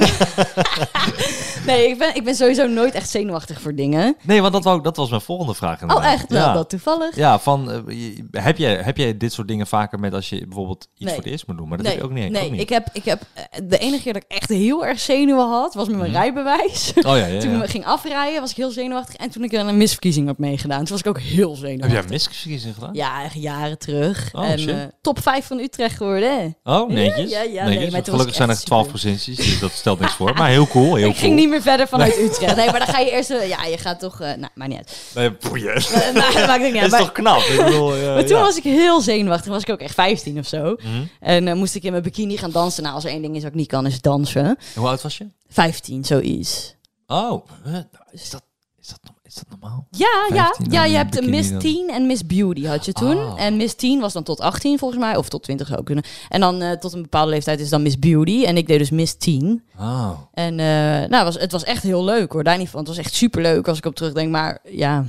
[SPEAKER 2] nee ik, ben, ik ben sowieso nooit echt zenuwachtig voor dingen.
[SPEAKER 1] Nee, want dat, wou, dat was mijn volgende vraag
[SPEAKER 2] Oh,
[SPEAKER 1] inderdaad.
[SPEAKER 2] echt? Wel,
[SPEAKER 1] ja.
[SPEAKER 2] dat toevallig.
[SPEAKER 1] Ja, van, eh, je- heb, jij, heb jij dit soort dingen vaker met als je bijvoorbeeld iets
[SPEAKER 2] Nee.
[SPEAKER 1] voor het eerst moet doen? Maar dat
[SPEAKER 2] nee,
[SPEAKER 1] heb je ook niet.
[SPEAKER 2] nee
[SPEAKER 1] ook niet.
[SPEAKER 2] Ik, heb, ik heb eh, de enige keer dat ik echt heel erg zenuwen had, was met mijn rijbewijs.
[SPEAKER 1] Oh Mhm. ja, ja,
[SPEAKER 2] Toen
[SPEAKER 1] ja.
[SPEAKER 2] ik ging afrijden, was ik heel zenuwachtig. En toen ik er een misverkiezing had meegedaan, toen was ik ook heel
[SPEAKER 1] Heb
[SPEAKER 2] zenuwachtig.
[SPEAKER 1] jij misverkiezing gedaan?
[SPEAKER 2] Ja, echt jaren terug.
[SPEAKER 1] Oh,
[SPEAKER 2] en
[SPEAKER 1] shit.
[SPEAKER 2] eh, top 5 van Utrecht geworden. hè.
[SPEAKER 1] Oh, netjes.
[SPEAKER 2] ja,
[SPEAKER 1] netjes.
[SPEAKER 2] ja, nee, maar toen was
[SPEAKER 1] Gelukkig
[SPEAKER 2] ik
[SPEAKER 1] zijn er
[SPEAKER 2] echt
[SPEAKER 1] 12
[SPEAKER 2] super.
[SPEAKER 1] provincies, dus dat stelt niks voor. Maar heel cool, heel
[SPEAKER 2] ik ging
[SPEAKER 1] cool.
[SPEAKER 2] niet meer verder vanuit Utrecht. Nee, maar dan ga je eerst... eh, Ja, je gaat toch... eh, nou, maar niet uit.
[SPEAKER 1] Nee, boeien.
[SPEAKER 2] Eh, maar, maakt ook niet
[SPEAKER 1] Dat
[SPEAKER 2] uit.
[SPEAKER 1] is
[SPEAKER 2] Maar,
[SPEAKER 1] toch knap? Ik bedoel, eh,
[SPEAKER 2] maar toen
[SPEAKER 1] ja. Mhm.
[SPEAKER 2] was ik heel zenuwachtig. Was ik ook echt 15 of zo. En eh, moest ik in mijn bikini gaan dansen. Nou, als er één ding is wat ik niet kan, is dansen.
[SPEAKER 1] Hoe oud was je?
[SPEAKER 2] 15, zoiets.
[SPEAKER 1] Oh, eh, nou, is dat, is dat, norm- is dat normaal?
[SPEAKER 2] Ja, ja.
[SPEAKER 1] 15
[SPEAKER 2] Ja,
[SPEAKER 1] en
[SPEAKER 2] je
[SPEAKER 1] een
[SPEAKER 2] hebt een
[SPEAKER 1] bikini
[SPEAKER 2] Miss
[SPEAKER 1] dan.
[SPEAKER 2] Teen en Miss Beauty had je toen.
[SPEAKER 1] Oh.
[SPEAKER 2] En Miss Teen was dan tot 18 volgens mij. Of tot 20 zou kunnen. En dan eh, tot een bepaalde leeftijd is dan Miss Beauty. En ik deed dus Miss Teen.
[SPEAKER 1] Oh.
[SPEAKER 2] En eh, nou, was, het was echt heel leuk hoor. Daar niet van. Het was echt superleuk als ik op terugdenk. Maar ja,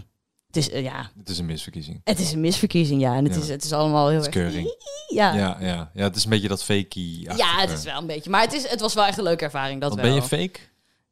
[SPEAKER 2] het is, eh, ja,
[SPEAKER 1] Het is een misverkiezing.
[SPEAKER 2] het is een misverkiezing. Ja, en het,
[SPEAKER 1] Ja.
[SPEAKER 2] is, het is allemaal heel
[SPEAKER 1] Het is
[SPEAKER 2] erg.
[SPEAKER 1] keuring.
[SPEAKER 2] Ja. Ja.
[SPEAKER 1] Ja, ja, ja, het is een beetje dat fakie.
[SPEAKER 2] het is wel een beetje. Maar het, is, het was wel echt een leuke ervaring. Dat
[SPEAKER 1] Want
[SPEAKER 2] wel.
[SPEAKER 1] ben je fake?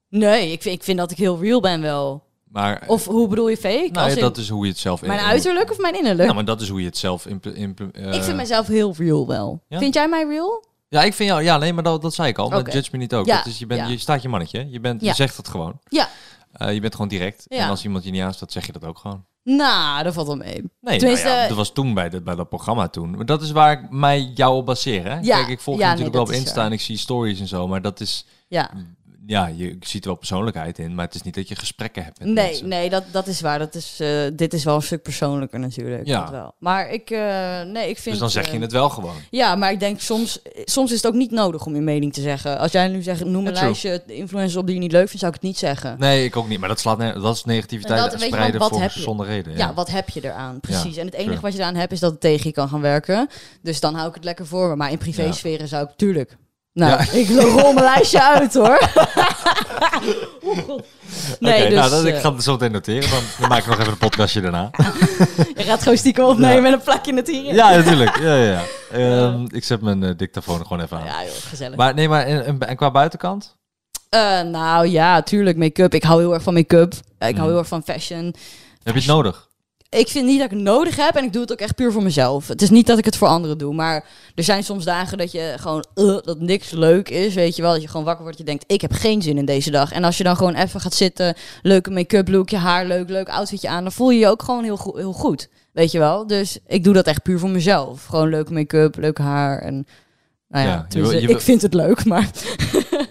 [SPEAKER 2] Nee, ik vind, ik vind dat ik heel real ben wel.
[SPEAKER 1] Maar
[SPEAKER 2] Of hoe bedoel je fake?
[SPEAKER 1] nou,
[SPEAKER 2] Als
[SPEAKER 1] ja,
[SPEAKER 2] in
[SPEAKER 1] dat is hoe je het zelf...
[SPEAKER 2] mijn uiterlijk of mijn innerlijk?
[SPEAKER 1] Ja, maar dat is hoe je het zelf... Imple, imple- eh,
[SPEAKER 2] ik vind mezelf heel real wel.
[SPEAKER 1] Ja?
[SPEAKER 2] Vind jij mij real?
[SPEAKER 1] Ja, ik vind jou... Ja, nee, maar dat, dat zei ik al. Maar
[SPEAKER 2] Oké.
[SPEAKER 1] judge me niet ook.
[SPEAKER 2] Ja,
[SPEAKER 1] Dat is, je, bent,
[SPEAKER 2] ja.
[SPEAKER 1] je staat je mannetje. hè? Je, bent,
[SPEAKER 2] Ja.
[SPEAKER 1] je zegt het gewoon.
[SPEAKER 2] Ja.
[SPEAKER 1] Eh, je bent gewoon direct.
[SPEAKER 2] Ja.
[SPEAKER 1] En als iemand je niet aanstaat, zeg je dat ook gewoon.
[SPEAKER 2] Nou, dat valt wel mee.
[SPEAKER 1] Nee, nou
[SPEAKER 2] Tenminste,
[SPEAKER 1] ja,
[SPEAKER 2] eh,
[SPEAKER 1] dat was toen bij, dat bij dat programma toen. Maar dat is waar ik mij jou op baseer, hè?
[SPEAKER 2] Ja,
[SPEAKER 1] Kijk, ik volg
[SPEAKER 2] ja,
[SPEAKER 1] je natuurlijk wel
[SPEAKER 2] nee, dat
[SPEAKER 1] op
[SPEAKER 2] is
[SPEAKER 1] Insta
[SPEAKER 2] waar.
[SPEAKER 1] en ik zie stories en zo. Maar dat is...
[SPEAKER 2] Ja.
[SPEAKER 1] Mm, Ja, je ik ziet er wel persoonlijkheid in, maar het is niet dat je gesprekken hebt met
[SPEAKER 2] Nee,
[SPEAKER 1] mensen.
[SPEAKER 2] nee dat, dat is waar. Dat is, eh, dit is wel een stuk persoonlijker natuurlijk.
[SPEAKER 1] Ja.
[SPEAKER 2] Dat wel. Maar ik, eh, nee, ik vind...
[SPEAKER 1] Dus dan zeg je
[SPEAKER 2] eh,
[SPEAKER 1] het wel gewoon.
[SPEAKER 2] Ja, maar ik denk soms, soms is het ook niet nodig om je mening te zeggen. Als jij nu zegt, noem
[SPEAKER 1] Ja,
[SPEAKER 2] een
[SPEAKER 1] true.
[SPEAKER 2] lijstje influencers op die je niet leuk vindt, zou ik het niet zeggen.
[SPEAKER 1] Nee, ik ook niet. Maar dat, slaat ne- dat is
[SPEAKER 2] En
[SPEAKER 1] negativiteit
[SPEAKER 2] dat- weet je, want
[SPEAKER 1] spreiden
[SPEAKER 2] wat
[SPEAKER 1] voor
[SPEAKER 2] heb je?
[SPEAKER 1] zonder reden.
[SPEAKER 2] Ja, wat heb je eraan? Precies. en het enige
[SPEAKER 1] true.
[SPEAKER 2] wat je eraan hebt is dat het tegen je kan gaan werken. Dus dan hou ik het lekker voor me. Maar in privésferen zou ik, tuurlijk. Nou,
[SPEAKER 1] Ja.
[SPEAKER 2] ik rol mijn lijstje uit hoor. Oeh, God. Nee,
[SPEAKER 1] Oké,
[SPEAKER 2] dus
[SPEAKER 1] nou, dat, ik
[SPEAKER 2] eh,
[SPEAKER 1] ga het zo meteen noteren. Dan, dan maak ik nog even een podcastje daarna.
[SPEAKER 2] je gaat gewoon stiekem opnemen
[SPEAKER 1] Ja.
[SPEAKER 2] en dan plak je het hierin.
[SPEAKER 1] Ja, natuurlijk. Ja, ja, ja. Ehm, ik zet mijn eh, dictafoon er gewoon even aan.
[SPEAKER 2] Ja, joh, gezellig.
[SPEAKER 1] Maar nee, maar en, en- en qua buitenkant?
[SPEAKER 2] Eh,
[SPEAKER 1] Mm.
[SPEAKER 2] nou ja, tuurlijk, make-up. Ik hou heel erg van make-up. Eh, ik hou heel erg van fashion.
[SPEAKER 1] Heb je het nodig?
[SPEAKER 2] ik vind niet dat ik het nodig heb en ik doe het ook echt puur voor mezelf. Het is niet dat ik het voor anderen doe, maar er zijn soms dagen dat je gewoon, eh, dat niks leuk is, weet je wel. Dat je gewoon wakker wordt, je denkt, ik heb geen zin in deze dag. En als je dan gewoon even gaat zitten, leuke make-up look, je haar leuk, leuk outfitje aan, dan voel je je ook gewoon heel, go- heel goed, weet je wel. Dus ik doe dat echt puur voor mezelf. Gewoon leuke make-up, leuk haar en... Nou ja,
[SPEAKER 1] Ja, je wil-
[SPEAKER 2] tenminste,
[SPEAKER 1] je wil-
[SPEAKER 2] ik vind het leuk, maar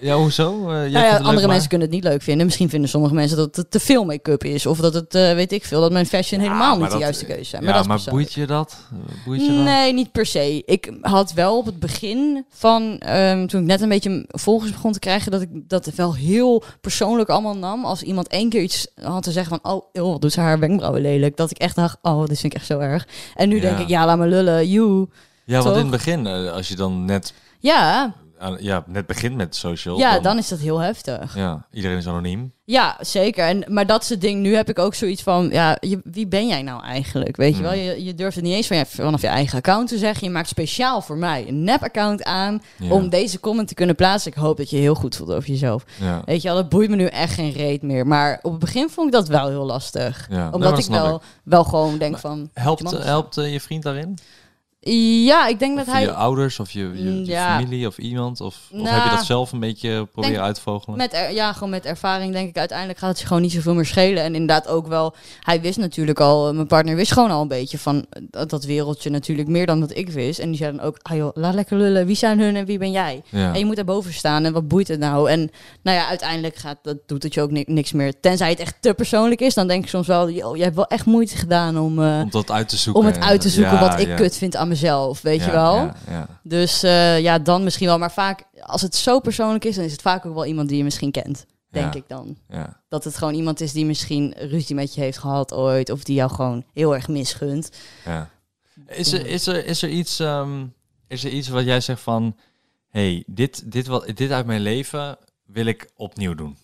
[SPEAKER 1] Ja, hoezo? Eh, jij vindt het
[SPEAKER 2] nou ja,
[SPEAKER 1] leuk,
[SPEAKER 2] andere
[SPEAKER 1] maar-
[SPEAKER 2] mensen kunnen het niet leuk vinden. Misschien vinden sommige mensen dat het te veel make-up is. Of dat het, eh, weet ik veel, dat mijn fashion
[SPEAKER 1] Ja,
[SPEAKER 2] helemaal
[SPEAKER 1] Ah, maar
[SPEAKER 2] niet de
[SPEAKER 1] dat-
[SPEAKER 2] juiste keuze zijn.
[SPEAKER 1] Ja,
[SPEAKER 2] Maar dat is
[SPEAKER 1] maar
[SPEAKER 2] persoonlijk.
[SPEAKER 1] boeit je dat? Eh, Boeit je dat?
[SPEAKER 2] Nee, niet per se. Ik had wel op het begin van, ehm, toen ik net een beetje volgers begon te krijgen, dat ik dat wel heel persoonlijk allemaal nam. Als iemand één keer iets had te zeggen van, oh, joh, wat doet ze haar wenkbrauwen lelijk. Dat ik echt dacht, oh, dit vind ik echt zo erg. En nu denk
[SPEAKER 1] Ja.
[SPEAKER 2] ik, ja, laat me lullen, you.
[SPEAKER 1] Ja, want in het
[SPEAKER 2] Toch?
[SPEAKER 1] begin, eh, als je dan net,
[SPEAKER 2] Ja,
[SPEAKER 1] aan- ja, net begint met social...
[SPEAKER 2] ja, dan is dat heel heftig.
[SPEAKER 1] Ja, iedereen is anoniem.
[SPEAKER 2] Ja, zeker. En, maar dat is het ding. Nu heb ik ook zoiets van, ja, je- wie ben jij nou eigenlijk? Weet
[SPEAKER 1] Hmm.
[SPEAKER 2] je wel, je, je durft het niet eens van je, vanaf je eigen account te zeggen. Je maakt speciaal voor mij een nep-account aan
[SPEAKER 1] Ja.
[SPEAKER 2] om deze comment te kunnen plaatsen. Ik hoop dat je je heel goed voelt over jezelf.
[SPEAKER 1] Ja.
[SPEAKER 2] Weet je wel, dat boeit me nu echt geen reet meer. Maar op het begin vond ik dat wel heel lastig.
[SPEAKER 1] Ja, nee, maar
[SPEAKER 2] Omdat
[SPEAKER 1] dat
[SPEAKER 2] ik
[SPEAKER 1] snap
[SPEAKER 2] wel, wel gewoon denk van...
[SPEAKER 1] Helpt,
[SPEAKER 2] man,
[SPEAKER 1] eh, helpt eh, je vriend daarin?
[SPEAKER 2] Ja, ik denk
[SPEAKER 1] Of
[SPEAKER 2] dat hij... Mm,
[SPEAKER 1] je ouders of je, je, je
[SPEAKER 2] Ja.
[SPEAKER 1] familie of iemand? Of, of
[SPEAKER 2] Nou,
[SPEAKER 1] heb je dat zelf een beetje proberen
[SPEAKER 2] denk-
[SPEAKER 1] uit te vogelen?
[SPEAKER 2] Met er- ja, gewoon met ervaring denk ik. Uiteindelijk gaat het je gewoon niet zoveel meer schelen. En inderdaad ook wel, hij wist natuurlijk al, eh, mijn partner wist gewoon al een beetje van eh, dat, dat wereldje natuurlijk meer dan dat ik wist. En die zei dan ook, ah joh, laat lekker lullen. Wie zijn hun en wie ben jij?
[SPEAKER 1] Ja.
[SPEAKER 2] En je moet daarboven staan en wat boeit het nou? En nou ja, uiteindelijk gaat, dat doet het je ook ni- niks meer. Tenzij het echt te persoonlijk is, dan denk ik soms wel, joh, je hebt wel echt moeite gedaan om, eh,
[SPEAKER 1] om dat uit te zoeken.
[SPEAKER 2] om het uit te zoeken
[SPEAKER 1] Ja,
[SPEAKER 2] wat ik
[SPEAKER 1] ja.
[SPEAKER 2] kut vind aan mezelf, weet
[SPEAKER 1] Ja,
[SPEAKER 2] je wel?
[SPEAKER 1] Ja, ja.
[SPEAKER 2] Dus eh, ja, dan misschien wel. Maar vaak, als het zo persoonlijk is, dan is het vaak ook wel iemand die je misschien kent. Denk
[SPEAKER 1] Ja.
[SPEAKER 2] ik dan.
[SPEAKER 1] ja.
[SPEAKER 2] Dat het gewoon iemand is die misschien ruzie met je heeft gehad ooit. Of die jou gewoon heel erg misgunt.
[SPEAKER 1] ja. Is, er, is, er, is, er iets, ehm, is er iets wat jij zegt van... hey, dit, dit, wat, dit uit mijn leven wil ik opnieuw doen.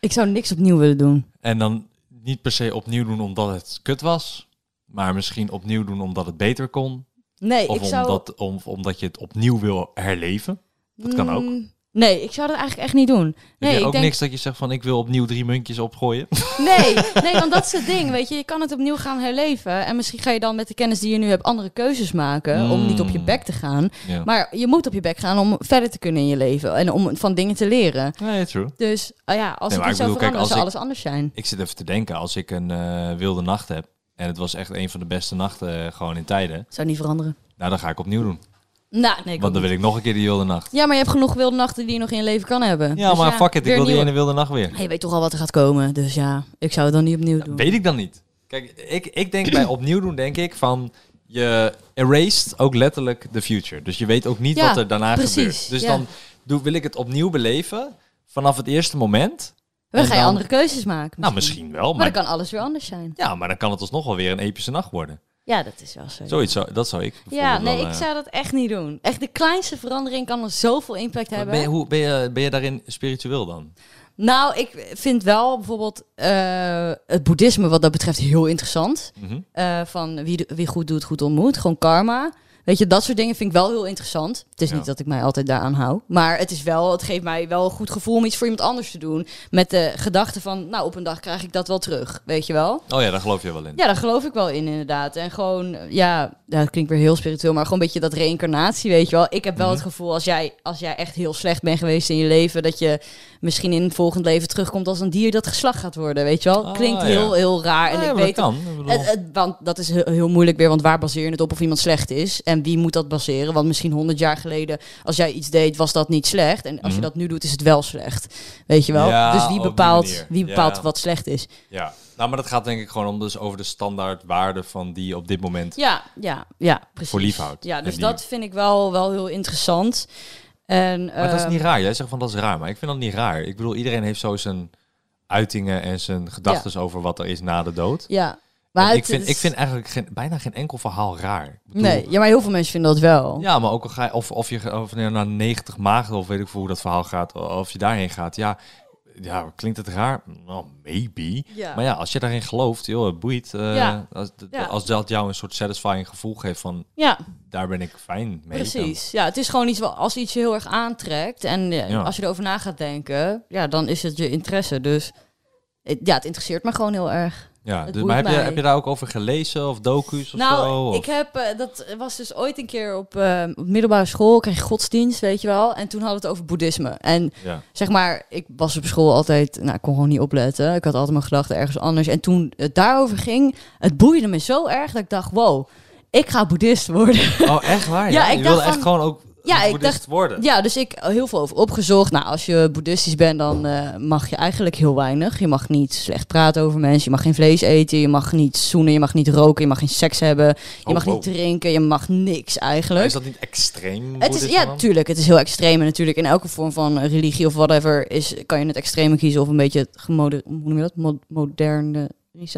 [SPEAKER 2] Ik zou niks opnieuw willen doen.
[SPEAKER 1] En dan niet per se opnieuw doen omdat het kut was... maar misschien opnieuw doen omdat het beter kon...
[SPEAKER 2] Nee,
[SPEAKER 1] of
[SPEAKER 2] ik zou...
[SPEAKER 1] omdat, om, omdat je het opnieuw wil herleven. dat kan ook.
[SPEAKER 2] Mm, nee, ik zou dat eigenlijk echt niet doen.
[SPEAKER 1] Nee,
[SPEAKER 2] Nee,
[SPEAKER 1] ook
[SPEAKER 2] ik denk...
[SPEAKER 1] niks dat je zegt van ik wil opnieuw drie muntjes opgooien.
[SPEAKER 2] Nee, nee, want dat is het ding, weet je. Je kan het opnieuw gaan herleven. En misschien ga je dan met de kennis die je nu hebt andere keuzes maken... om niet op je
[SPEAKER 1] Mm.
[SPEAKER 2] bek te gaan.
[SPEAKER 1] ja.
[SPEAKER 2] Maar je moet op je bek gaan om verder te kunnen in je leven. En om van dingen te leren.
[SPEAKER 1] Nee, true.
[SPEAKER 2] Dus ah ja, als
[SPEAKER 1] Nee,
[SPEAKER 2] ik
[SPEAKER 1] maar
[SPEAKER 2] iets
[SPEAKER 1] ik bedoel, kijk,
[SPEAKER 2] zou veranderen,
[SPEAKER 1] als
[SPEAKER 2] zou
[SPEAKER 1] ik-
[SPEAKER 2] alles anders zijn.
[SPEAKER 1] Ik zit even te denken, als ik een eh, wilde nacht heb en het was echt een van de beste nachten eh, gewoon in tijden,
[SPEAKER 2] Zou niet veranderen.
[SPEAKER 1] nou dan ga ik opnieuw doen.
[SPEAKER 2] Nou, nee, ik
[SPEAKER 1] Want
[SPEAKER 2] ook
[SPEAKER 1] dan wil ik nog een keer die wilde nacht.
[SPEAKER 2] niet. Ja, maar je hebt genoeg wilde nachten die je nog in je leven kan hebben.
[SPEAKER 1] Ja,
[SPEAKER 2] Dus
[SPEAKER 1] maar fuck it, ik
[SPEAKER 2] weer
[SPEAKER 1] wil die
[SPEAKER 2] nieuwe.
[SPEAKER 1] ene wilde nacht weer.
[SPEAKER 2] Hey, Je weet toch al wat er gaat komen, dus ja, ik zou het dan niet opnieuw doen.
[SPEAKER 1] Weet ik dan niet. Kijk, ik, ik denk bij opnieuw doen, denk ik van je erased ook letterlijk the future. Dus je weet ook niet
[SPEAKER 2] Ja,
[SPEAKER 1] wat er daarna
[SPEAKER 2] precies,
[SPEAKER 1] gebeurt. Dus
[SPEAKER 2] ja.
[SPEAKER 1] dan doe, wil ik het opnieuw beleven vanaf het eerste moment.
[SPEAKER 2] Dan
[SPEAKER 1] En
[SPEAKER 2] ga je
[SPEAKER 1] dan-
[SPEAKER 2] andere keuzes maken.
[SPEAKER 1] Nou, misschien wel,
[SPEAKER 2] Maar
[SPEAKER 1] maar,
[SPEAKER 2] dan kan alles weer anders zijn.
[SPEAKER 1] ja, maar dan kan het alsnog wel weer een epische nacht worden.
[SPEAKER 2] Ja, dat is wel zo.
[SPEAKER 1] Zoiets, zou- dat zou ik.
[SPEAKER 2] Ja,
[SPEAKER 1] bijvoorbeeld
[SPEAKER 2] nee,
[SPEAKER 1] wel,
[SPEAKER 2] ik
[SPEAKER 1] eh,
[SPEAKER 2] zou dat echt niet doen. Echt, de kleinste verandering kan al zoveel impact
[SPEAKER 1] Maar
[SPEAKER 2] hebben.
[SPEAKER 1] Ben je, hoe, ben, je, ben je daarin spiritueel dan?
[SPEAKER 2] Nou, ik vind wel bijvoorbeeld eh, het boeddhisme wat dat betreft heel interessant.
[SPEAKER 1] Mhm.
[SPEAKER 2] Eh, van wie, wie goed doet, goed ontmoet. Gewoon karma. Weet je, dat soort dingen vind ik wel heel interessant. Het is
[SPEAKER 1] Ja.
[SPEAKER 2] niet dat ik mij altijd daaraan hou. Maar het, is wel, het geeft mij wel een goed gevoel om iets voor iemand anders te doen. Met de gedachte van, nou, op een dag krijg ik dat wel terug. Weet je wel?
[SPEAKER 1] Oh ja, daar geloof je wel in.
[SPEAKER 2] Ja, daar geloof ik wel in, inderdaad. En gewoon, ja, ja, dat klinkt weer heel spiritueel, maar gewoon een beetje dat reïncarnatie, weet je wel. Ik heb wel
[SPEAKER 1] Mhm.
[SPEAKER 2] het gevoel, als jij, als jij echt heel slecht bent geweest in je leven, dat je misschien in het volgend leven terugkomt als een dier dat geslacht gaat worden, weet je wel.
[SPEAKER 1] Ah,
[SPEAKER 2] klinkt
[SPEAKER 1] ja.
[SPEAKER 2] heel, heel raar. En
[SPEAKER 1] Ah, ja,
[SPEAKER 2] ik
[SPEAKER 1] maar
[SPEAKER 2] weet
[SPEAKER 1] dat kan. Ik bedoel,
[SPEAKER 2] het, het- want dat is heel, heel moeilijk weer, want waar baseer je het op of iemand slecht is? En wie moet dat baseren? Want misschien honderd jaar geleden, als jij iets deed, was dat niet slecht. En als je
[SPEAKER 1] Mhm.
[SPEAKER 2] dat nu doet, is het wel slecht. Weet je wel?
[SPEAKER 1] Ja,
[SPEAKER 2] dus
[SPEAKER 1] op
[SPEAKER 2] wie
[SPEAKER 1] die
[SPEAKER 2] bepaalt,
[SPEAKER 1] manier.
[SPEAKER 2] wie bepaalt
[SPEAKER 1] Ja.
[SPEAKER 2] wat slecht is?
[SPEAKER 1] ja. Nou, maar dat gaat denk ik gewoon om dus over de standaardwaarde van die op dit moment.
[SPEAKER 2] Ja, ja, ja, precies.
[SPEAKER 1] Voor lief houdt.
[SPEAKER 2] Ja,
[SPEAKER 1] En
[SPEAKER 2] dus
[SPEAKER 1] die-
[SPEAKER 2] dat vind ik wel, wel heel interessant. En,
[SPEAKER 1] Maar dat is
[SPEAKER 2] ehm,
[SPEAKER 1] niet raar. Jij zegt van dat is raar, maar ik vind dat niet raar. Ik bedoel, iedereen heeft zo zijn uitingen en zijn gedachten over wat er is na de dood.
[SPEAKER 2] Ja,
[SPEAKER 1] En
[SPEAKER 2] maar
[SPEAKER 1] ik,
[SPEAKER 2] het
[SPEAKER 1] vind,
[SPEAKER 2] is-
[SPEAKER 1] ik vind eigenlijk geen, bijna geen enkel verhaal raar. Ik bedoel,
[SPEAKER 2] Nee, ja, maar heel veel mensen vinden dat wel.
[SPEAKER 1] Ja, maar ook al ga je, of, of je ge- of je naar 90 maagden, of weet ik veel hoe dat verhaal gaat, of je daarheen gaat. Ja, ja klinkt het raar? Well, maybe.
[SPEAKER 2] Ja.
[SPEAKER 1] Maar ja, als je daarin gelooft, joh, het boeit. eh,
[SPEAKER 2] Ja.
[SPEAKER 1] Als, d-
[SPEAKER 2] Ja.
[SPEAKER 1] als dat jou een soort satisfying gevoel geeft van,
[SPEAKER 2] ja.
[SPEAKER 1] daar ben ik fijn mee.
[SPEAKER 2] Precies. Ja, het is gewoon iets wat als iets je heel erg aantrekt en eh,
[SPEAKER 1] Ja.
[SPEAKER 2] als je erover na gaat denken, ja, dan is het je interesse. Dus eh, ja, het interesseert me gewoon heel erg.
[SPEAKER 1] Ja,
[SPEAKER 2] Het
[SPEAKER 1] dus, maar
[SPEAKER 2] boeit
[SPEAKER 1] heb je,
[SPEAKER 2] mij.
[SPEAKER 1] heb je daar ook over gelezen of docu's of
[SPEAKER 2] nou,
[SPEAKER 1] zo? Of-
[SPEAKER 2] ik heb, eh, dat was dus ooit een keer op, eh, op middelbare school, kreeg ik godsdienst, weet je wel. En toen hadden we het over boeddhisme. En
[SPEAKER 1] Ja.
[SPEAKER 2] zeg maar, ik was op school altijd, nou, ik kon gewoon niet opletten. Ik had altijd mijn gedachten ergens anders. En toen het daarover ging, het boeide me zo erg dat ik dacht, wow, ik ga boeddhist worden.
[SPEAKER 1] Oh, echt waar?
[SPEAKER 2] Ja,
[SPEAKER 1] ja?
[SPEAKER 2] ik
[SPEAKER 1] je
[SPEAKER 2] dacht
[SPEAKER 1] wilde echt
[SPEAKER 2] van-
[SPEAKER 1] gewoon ook
[SPEAKER 2] Ja, ik
[SPEAKER 1] boeddhist
[SPEAKER 2] dacht-
[SPEAKER 1] worden.
[SPEAKER 2] Ja, dus ik heel veel over opgezocht. Nou, als je boeddhistisch bent, dan eh, mag je eigenlijk heel weinig. Je mag niet slecht praten over mensen. Je mag geen vlees eten. Je mag niet zoenen. Je mag niet roken. Je mag geen seks hebben. Je
[SPEAKER 1] Oh,
[SPEAKER 2] mag
[SPEAKER 1] wow.
[SPEAKER 2] niet drinken. Je mag niks eigenlijk.
[SPEAKER 1] Is dat niet extreem?
[SPEAKER 2] Het is,
[SPEAKER 1] boeddhisme
[SPEAKER 2] ja,
[SPEAKER 1] dan?
[SPEAKER 2] tuurlijk. Het is heel extreem. En natuurlijk in elke vorm van religie of whatever is, kan je het extreme kiezen of een beetje het gemoder, hoe noem je dat? Mo- moderne.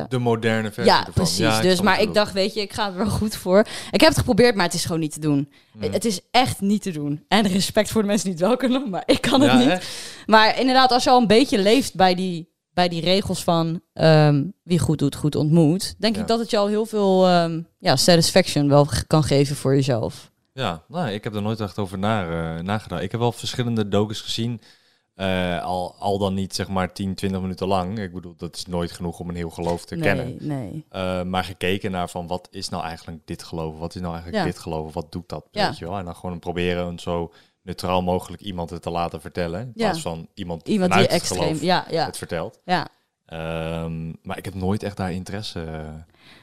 [SPEAKER 1] De moderne versie
[SPEAKER 2] Ja,
[SPEAKER 1] ervan.
[SPEAKER 2] precies.
[SPEAKER 1] Ja, ik
[SPEAKER 2] dus,
[SPEAKER 1] snap
[SPEAKER 2] maar
[SPEAKER 1] wat je
[SPEAKER 2] ik dacht, weet je, ik ga er wel goed voor. Ik heb het geprobeerd, maar het is gewoon niet te doen.
[SPEAKER 1] Hmm.
[SPEAKER 2] Het is echt niet te doen. En respect voor de mensen die het wel kunnen, maar ik kan
[SPEAKER 1] bedoelt.
[SPEAKER 2] het
[SPEAKER 1] Ja,
[SPEAKER 2] niet.
[SPEAKER 1] echt?
[SPEAKER 2] Maar inderdaad, als je al een beetje leeft bij die, bij die regels van ehm, wie goed doet, goed ontmoet, denk
[SPEAKER 1] Ja.
[SPEAKER 2] ik dat het je al heel veel ehm, ja, satisfaction wel ge- kan geven voor jezelf.
[SPEAKER 1] Ja, nou, ik heb er nooit echt over na, eh, nagedacht. Ik heb wel verschillende docus gezien. eh, al, al dan niet zeg maar 10, 20 minuten lang. Ik bedoel, dat is nooit genoeg om een heel geloof te kennen.
[SPEAKER 2] Nee, nee.
[SPEAKER 1] Eh, maar gekeken naar van wat is nou eigenlijk dit geloof? Wat is nou eigenlijk
[SPEAKER 2] Ja.
[SPEAKER 1] dit geloof? Wat doet dat?
[SPEAKER 2] Ja.
[SPEAKER 1] Weet je wel? En dan gewoon proberen een zo neutraal mogelijk iemand het te laten vertellen. In
[SPEAKER 2] Ja.
[SPEAKER 1] plaats van iemand,
[SPEAKER 2] Iemand die
[SPEAKER 1] vanuit het
[SPEAKER 2] extreem.
[SPEAKER 1] geloof
[SPEAKER 2] Ja, ja,
[SPEAKER 1] het vertelt.
[SPEAKER 2] ja.
[SPEAKER 1] Ehm, maar ik heb nooit echt daar interesse eh,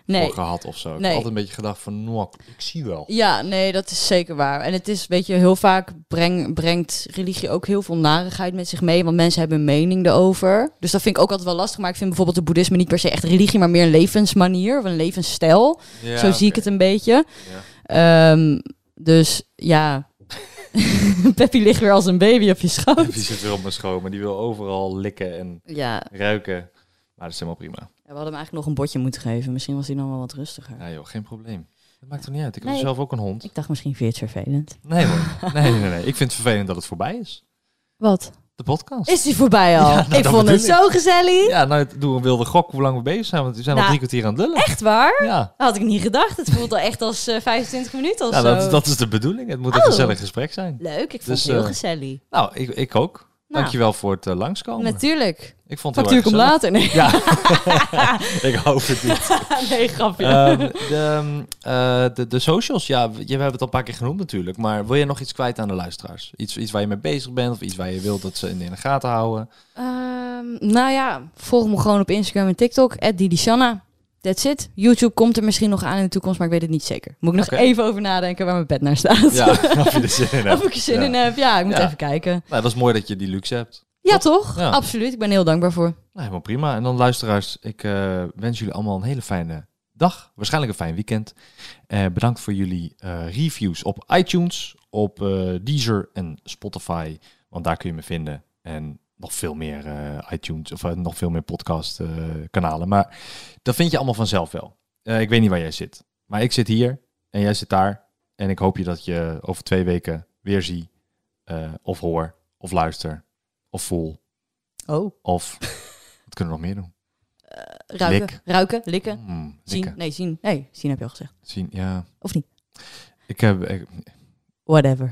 [SPEAKER 2] Nee.
[SPEAKER 1] voor gehad of zo. Ik heb
[SPEAKER 2] Nee.
[SPEAKER 1] altijd een beetje gedacht van, nou, ik zie wel.
[SPEAKER 2] Ja, nee, dat is zeker waar. En het is, weet je, heel vaak breng, brengt religie ook heel veel narigheid met zich mee. Want mensen hebben een mening erover. Dus dat vind ik ook altijd wel lastig. Maar ik vind bijvoorbeeld het boeddhisme niet per se echt religie, maar meer een levensmanier of een levensstijl.
[SPEAKER 1] Ja,
[SPEAKER 2] Zo zie ik
[SPEAKER 1] oké.
[SPEAKER 2] het een beetje. Ehm, dus ja. Peppy ligt weer als een baby op je schoot.
[SPEAKER 1] Die zit weer op mijn schoot, maar die wil overal likken en
[SPEAKER 2] Ja,
[SPEAKER 1] ruiken. Maar dat is helemaal prima.
[SPEAKER 2] we hadden hem eigenlijk nog een botje moeten geven. Misschien was hij dan wel wat rustiger.
[SPEAKER 1] Ja joh, geen probleem. Dat maakt toch niet uit. Ik heb
[SPEAKER 2] Nee.
[SPEAKER 1] zelf ook een hond.
[SPEAKER 2] Ik dacht misschien vind je het vervelend.
[SPEAKER 1] Nee hoor. Nee, nee, nee. Ik vind het vervelend dat het voorbij is.
[SPEAKER 2] Wat?
[SPEAKER 1] De podcast.
[SPEAKER 2] Is die voorbij al?
[SPEAKER 1] Ja, nou,
[SPEAKER 2] ik
[SPEAKER 1] dat
[SPEAKER 2] vond het
[SPEAKER 1] bedoel
[SPEAKER 2] zo gezellig.
[SPEAKER 1] Ja, nou, het- doe een wilde gok hoe lang we bezig zijn, want we zijn al
[SPEAKER 2] Nou,
[SPEAKER 1] drie kwartier aan het lullen.
[SPEAKER 2] Echt waar?
[SPEAKER 1] Ja,
[SPEAKER 2] Dat had ik niet gedacht. Het voelt al echt als eh, 25 minuten of
[SPEAKER 1] ja
[SPEAKER 2] zo.
[SPEAKER 1] dat, dat is de bedoeling. Het moet een
[SPEAKER 2] Oh.
[SPEAKER 1] gezellig gesprek zijn.
[SPEAKER 2] Leuk, ik vond
[SPEAKER 1] Dus,
[SPEAKER 2] het heel
[SPEAKER 1] eh,
[SPEAKER 2] gezellig.
[SPEAKER 1] Nou, ik, ik ook.
[SPEAKER 2] Nou,
[SPEAKER 1] Dankjewel voor het eh, langskomen.
[SPEAKER 2] Natuurlijk.
[SPEAKER 1] Ik vond het heel
[SPEAKER 2] Factuur
[SPEAKER 1] erg
[SPEAKER 2] komt
[SPEAKER 1] gezellig.
[SPEAKER 2] later. Nee,
[SPEAKER 1] Ik hoop het niet.
[SPEAKER 2] nee grapje.
[SPEAKER 1] Ehm, de, ehm, eh, de, de socials, ja, we, je- we hebben het al een paar keer genoemd natuurlijk. Maar wil je nog iets kwijt aan de luisteraars? Iets, iets waar je mee bezig bent of iets waar je wilt dat ze in de in de gaten houden?
[SPEAKER 2] Ehm, nou ja, volg me gewoon op Instagram en TikTok. @didishanna. That's it. YouTube komt er misschien nog aan in de toekomst, maar ik weet het niet zeker. Moet ik nog
[SPEAKER 1] Oké.
[SPEAKER 2] even over nadenken waar mijn bed naar staat.
[SPEAKER 1] Ja, of je er zin in
[SPEAKER 2] of
[SPEAKER 1] hebt.
[SPEAKER 2] ik er zin
[SPEAKER 1] Ja.
[SPEAKER 2] in heb. Ja, ik moet
[SPEAKER 1] Ja.
[SPEAKER 2] even kijken.
[SPEAKER 1] Nou, dat is mooi dat je die luxe hebt.
[SPEAKER 2] Ja, toch?
[SPEAKER 1] Ja.
[SPEAKER 2] Absoluut. Ik ben er heel dankbaar voor.
[SPEAKER 1] Nou, helemaal prima. En dan luisteraars, ik eh, wens jullie allemaal een hele fijne dag. Waarschijnlijk een fijn weekend. Eh, bedankt voor jullie eh, reviews op iTunes, op eh, Deezer en Spotify. Want daar kun je me vinden. En nog veel meer eh, iTunes of eh, nog veel meer podcast eh, kanalen. Maar dat vind je allemaal vanzelf wel. Eh, ik weet niet waar jij zit. Maar ik zit hier en jij zit daar. En ik hoop je dat je over twee weken weer zie eh, of hoor of luister of voel.
[SPEAKER 2] Oh.
[SPEAKER 1] Of wat kunnen we nog meer doen?
[SPEAKER 2] Eh, Ruiken.
[SPEAKER 1] Lik.
[SPEAKER 2] Ruiken. Likken.
[SPEAKER 1] Mm,
[SPEAKER 2] Zien.
[SPEAKER 1] likken.
[SPEAKER 2] Nee, zien. Nee, zien heb je al gezegd.
[SPEAKER 1] Zien, ja.
[SPEAKER 2] Of niet?
[SPEAKER 1] Ik heb, ik-
[SPEAKER 2] Whatever.